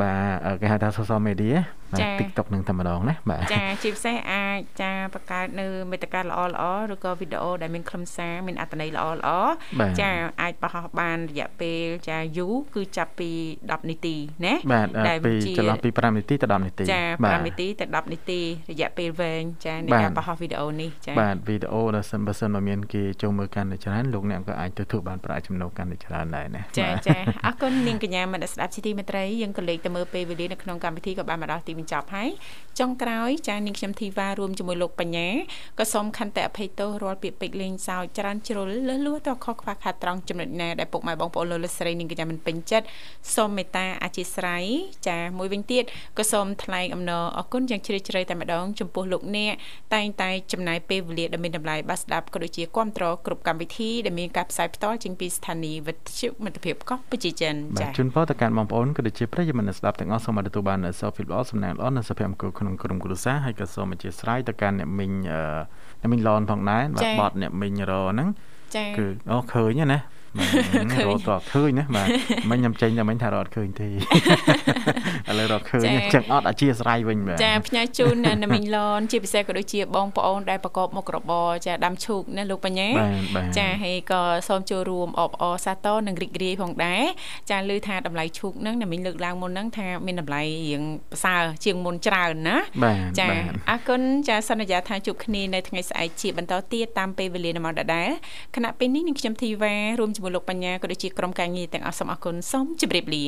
Speaker 3: បាទគេហៅថា social media បាទ TikTok នឹងតែម្ដងណាបាទ
Speaker 2: ចាជាពិសេសអាចចាបង្កើតនៅមេតិកាល្អល្អឬក៏វីដេអូដែលមានខ្លឹមសារមានអត្ថន័យល្អល្អ
Speaker 3: បាទ
Speaker 2: ចាអាចបង្ហោះបានរយៈពេលចាយូរគឺចាប់ពី10នាទីណា
Speaker 3: បាទអឺ
Speaker 2: ដែល
Speaker 3: ពី
Speaker 2: ជា
Speaker 3: ចន្លោះពី5នាទីទៅ10នាទី
Speaker 2: ចា5នាទីទៅ10នាទីរយៈពេលវែងចានៃ
Speaker 3: បាទ
Speaker 2: ការបង្ហោះវីដេអូនេះចា
Speaker 3: បាទវីដេអូដែលសិនបើសិនមកមានគេចូលមើលកាន់តែច្រើនលោកអ្នកក៏អាចទទួលបានប្រាក់ចំណូលកាន់តែច្រើនដែរណា
Speaker 2: ចា
Speaker 3: បាទ
Speaker 2: ចាអរគុណនាងកញ្ញាមនស្សស្ដាប់ជីទីមេត្រីយើងក៏លេខទៅមើលពេលវេលានៅក្នុងកម្មវិធីក៏បានមកដល់ទី បញ្ចប់ហើយចុងក្រោយចានាងខ្ញុំធីវ៉ារួមជាមួយលោកបញ្ញាក៏សូមខន្តិអភ័យទោសរាល់ពាក្យពេចន៍លេងសើចច្រើនជ្រុលលឺលួតខុសខ្វះខាតត្រង់ចំណុចណាដែលពុកម៉ែបងប្អូនលោកលកស្រីនាងកញ្ញាមិនពេញចិត្តសូមមេត្តាអធិស្ឋានចាមួយវិញទៀតក៏សូមថ្លែងអំណរអគុណយ៉ាងជ្រាលជ្រៅតែម្ដងចំពោះលោកអ្នកតែងតែចំណាយពេលវេលាដ៏មានតម្លៃបាទស្ដាប់ក៏ដូចជាគ្រប់គ្រងគ្រប់កម្មវិធីដែលមានការផ្សាយផ្ទាល់ចេញពីស្ថានីយ៍វិទ្យុមិត្តភាពកម្ពុជាចិន
Speaker 3: បាទ
Speaker 2: ចា៎
Speaker 3: ជូនពរទៅកាន់បងប្អូនក៏ដូចជាប្រិយមិត្តអ្នកស្ដាប់ទាំងអស់សូមឲ្យទទួលបាននូវសុខភាពល្អសំណាងល្អនិងសុភមង្គលក្នុងក្រុមគ្រួសារហើយក៏សូមអធិស្ឋានទៅកាន់អ្នកមីងអឺអ្នកមីងឡនផងដែរបា
Speaker 2: ចា៎
Speaker 3: ទបត់អ្នកមីងរហ្នឹង
Speaker 2: ចា៎
Speaker 3: គឺអូឃើញហើយណាបាទ រត់តឃើញណាបាទមិញខ្ញុំចេញតែមិញថារត់ឃើញទេ ឥឡូវរត់ឃើញ
Speaker 2: ចា៎
Speaker 3: អញ្ចឹងអត់អធិស្ឋានវិញបាទ
Speaker 2: ចាផ្ញើជូននៅណាមីងឡនជាពិសេសក៏ដូចជាបងប្អូនដែលប្រកបមុខរបរចាដាំឈូកណាលោកបញ្ញា
Speaker 3: បាទបាទ
Speaker 2: ចាហើយក៏សូមចូលរួមអបអរសាទរនិងរីករាយផងដែរចាឮថាតម្លៃឈូកហ្នឹងណាមីងលើកឡើងមុនហ្នឹងថាមានតម្លៃរៀងប្រសើរជាងមុនច្រើនណា
Speaker 3: បាទ
Speaker 2: ចា
Speaker 3: បាទ
Speaker 2: អរគុណចាសន្យាថាជួបគ្នានៅថ្ងៃស្អែកជាបន្តទៀតតាមពេលវេលានៅម៉ោងដដែលគណៈពេលនេះនឹងខ្ញុំធីវ៉ារួមជាមួយលោកបញ្ញាក៏ដូចជាក្រុមការងារទាំងអស់សូមអរគុណសូមជម្រាបលា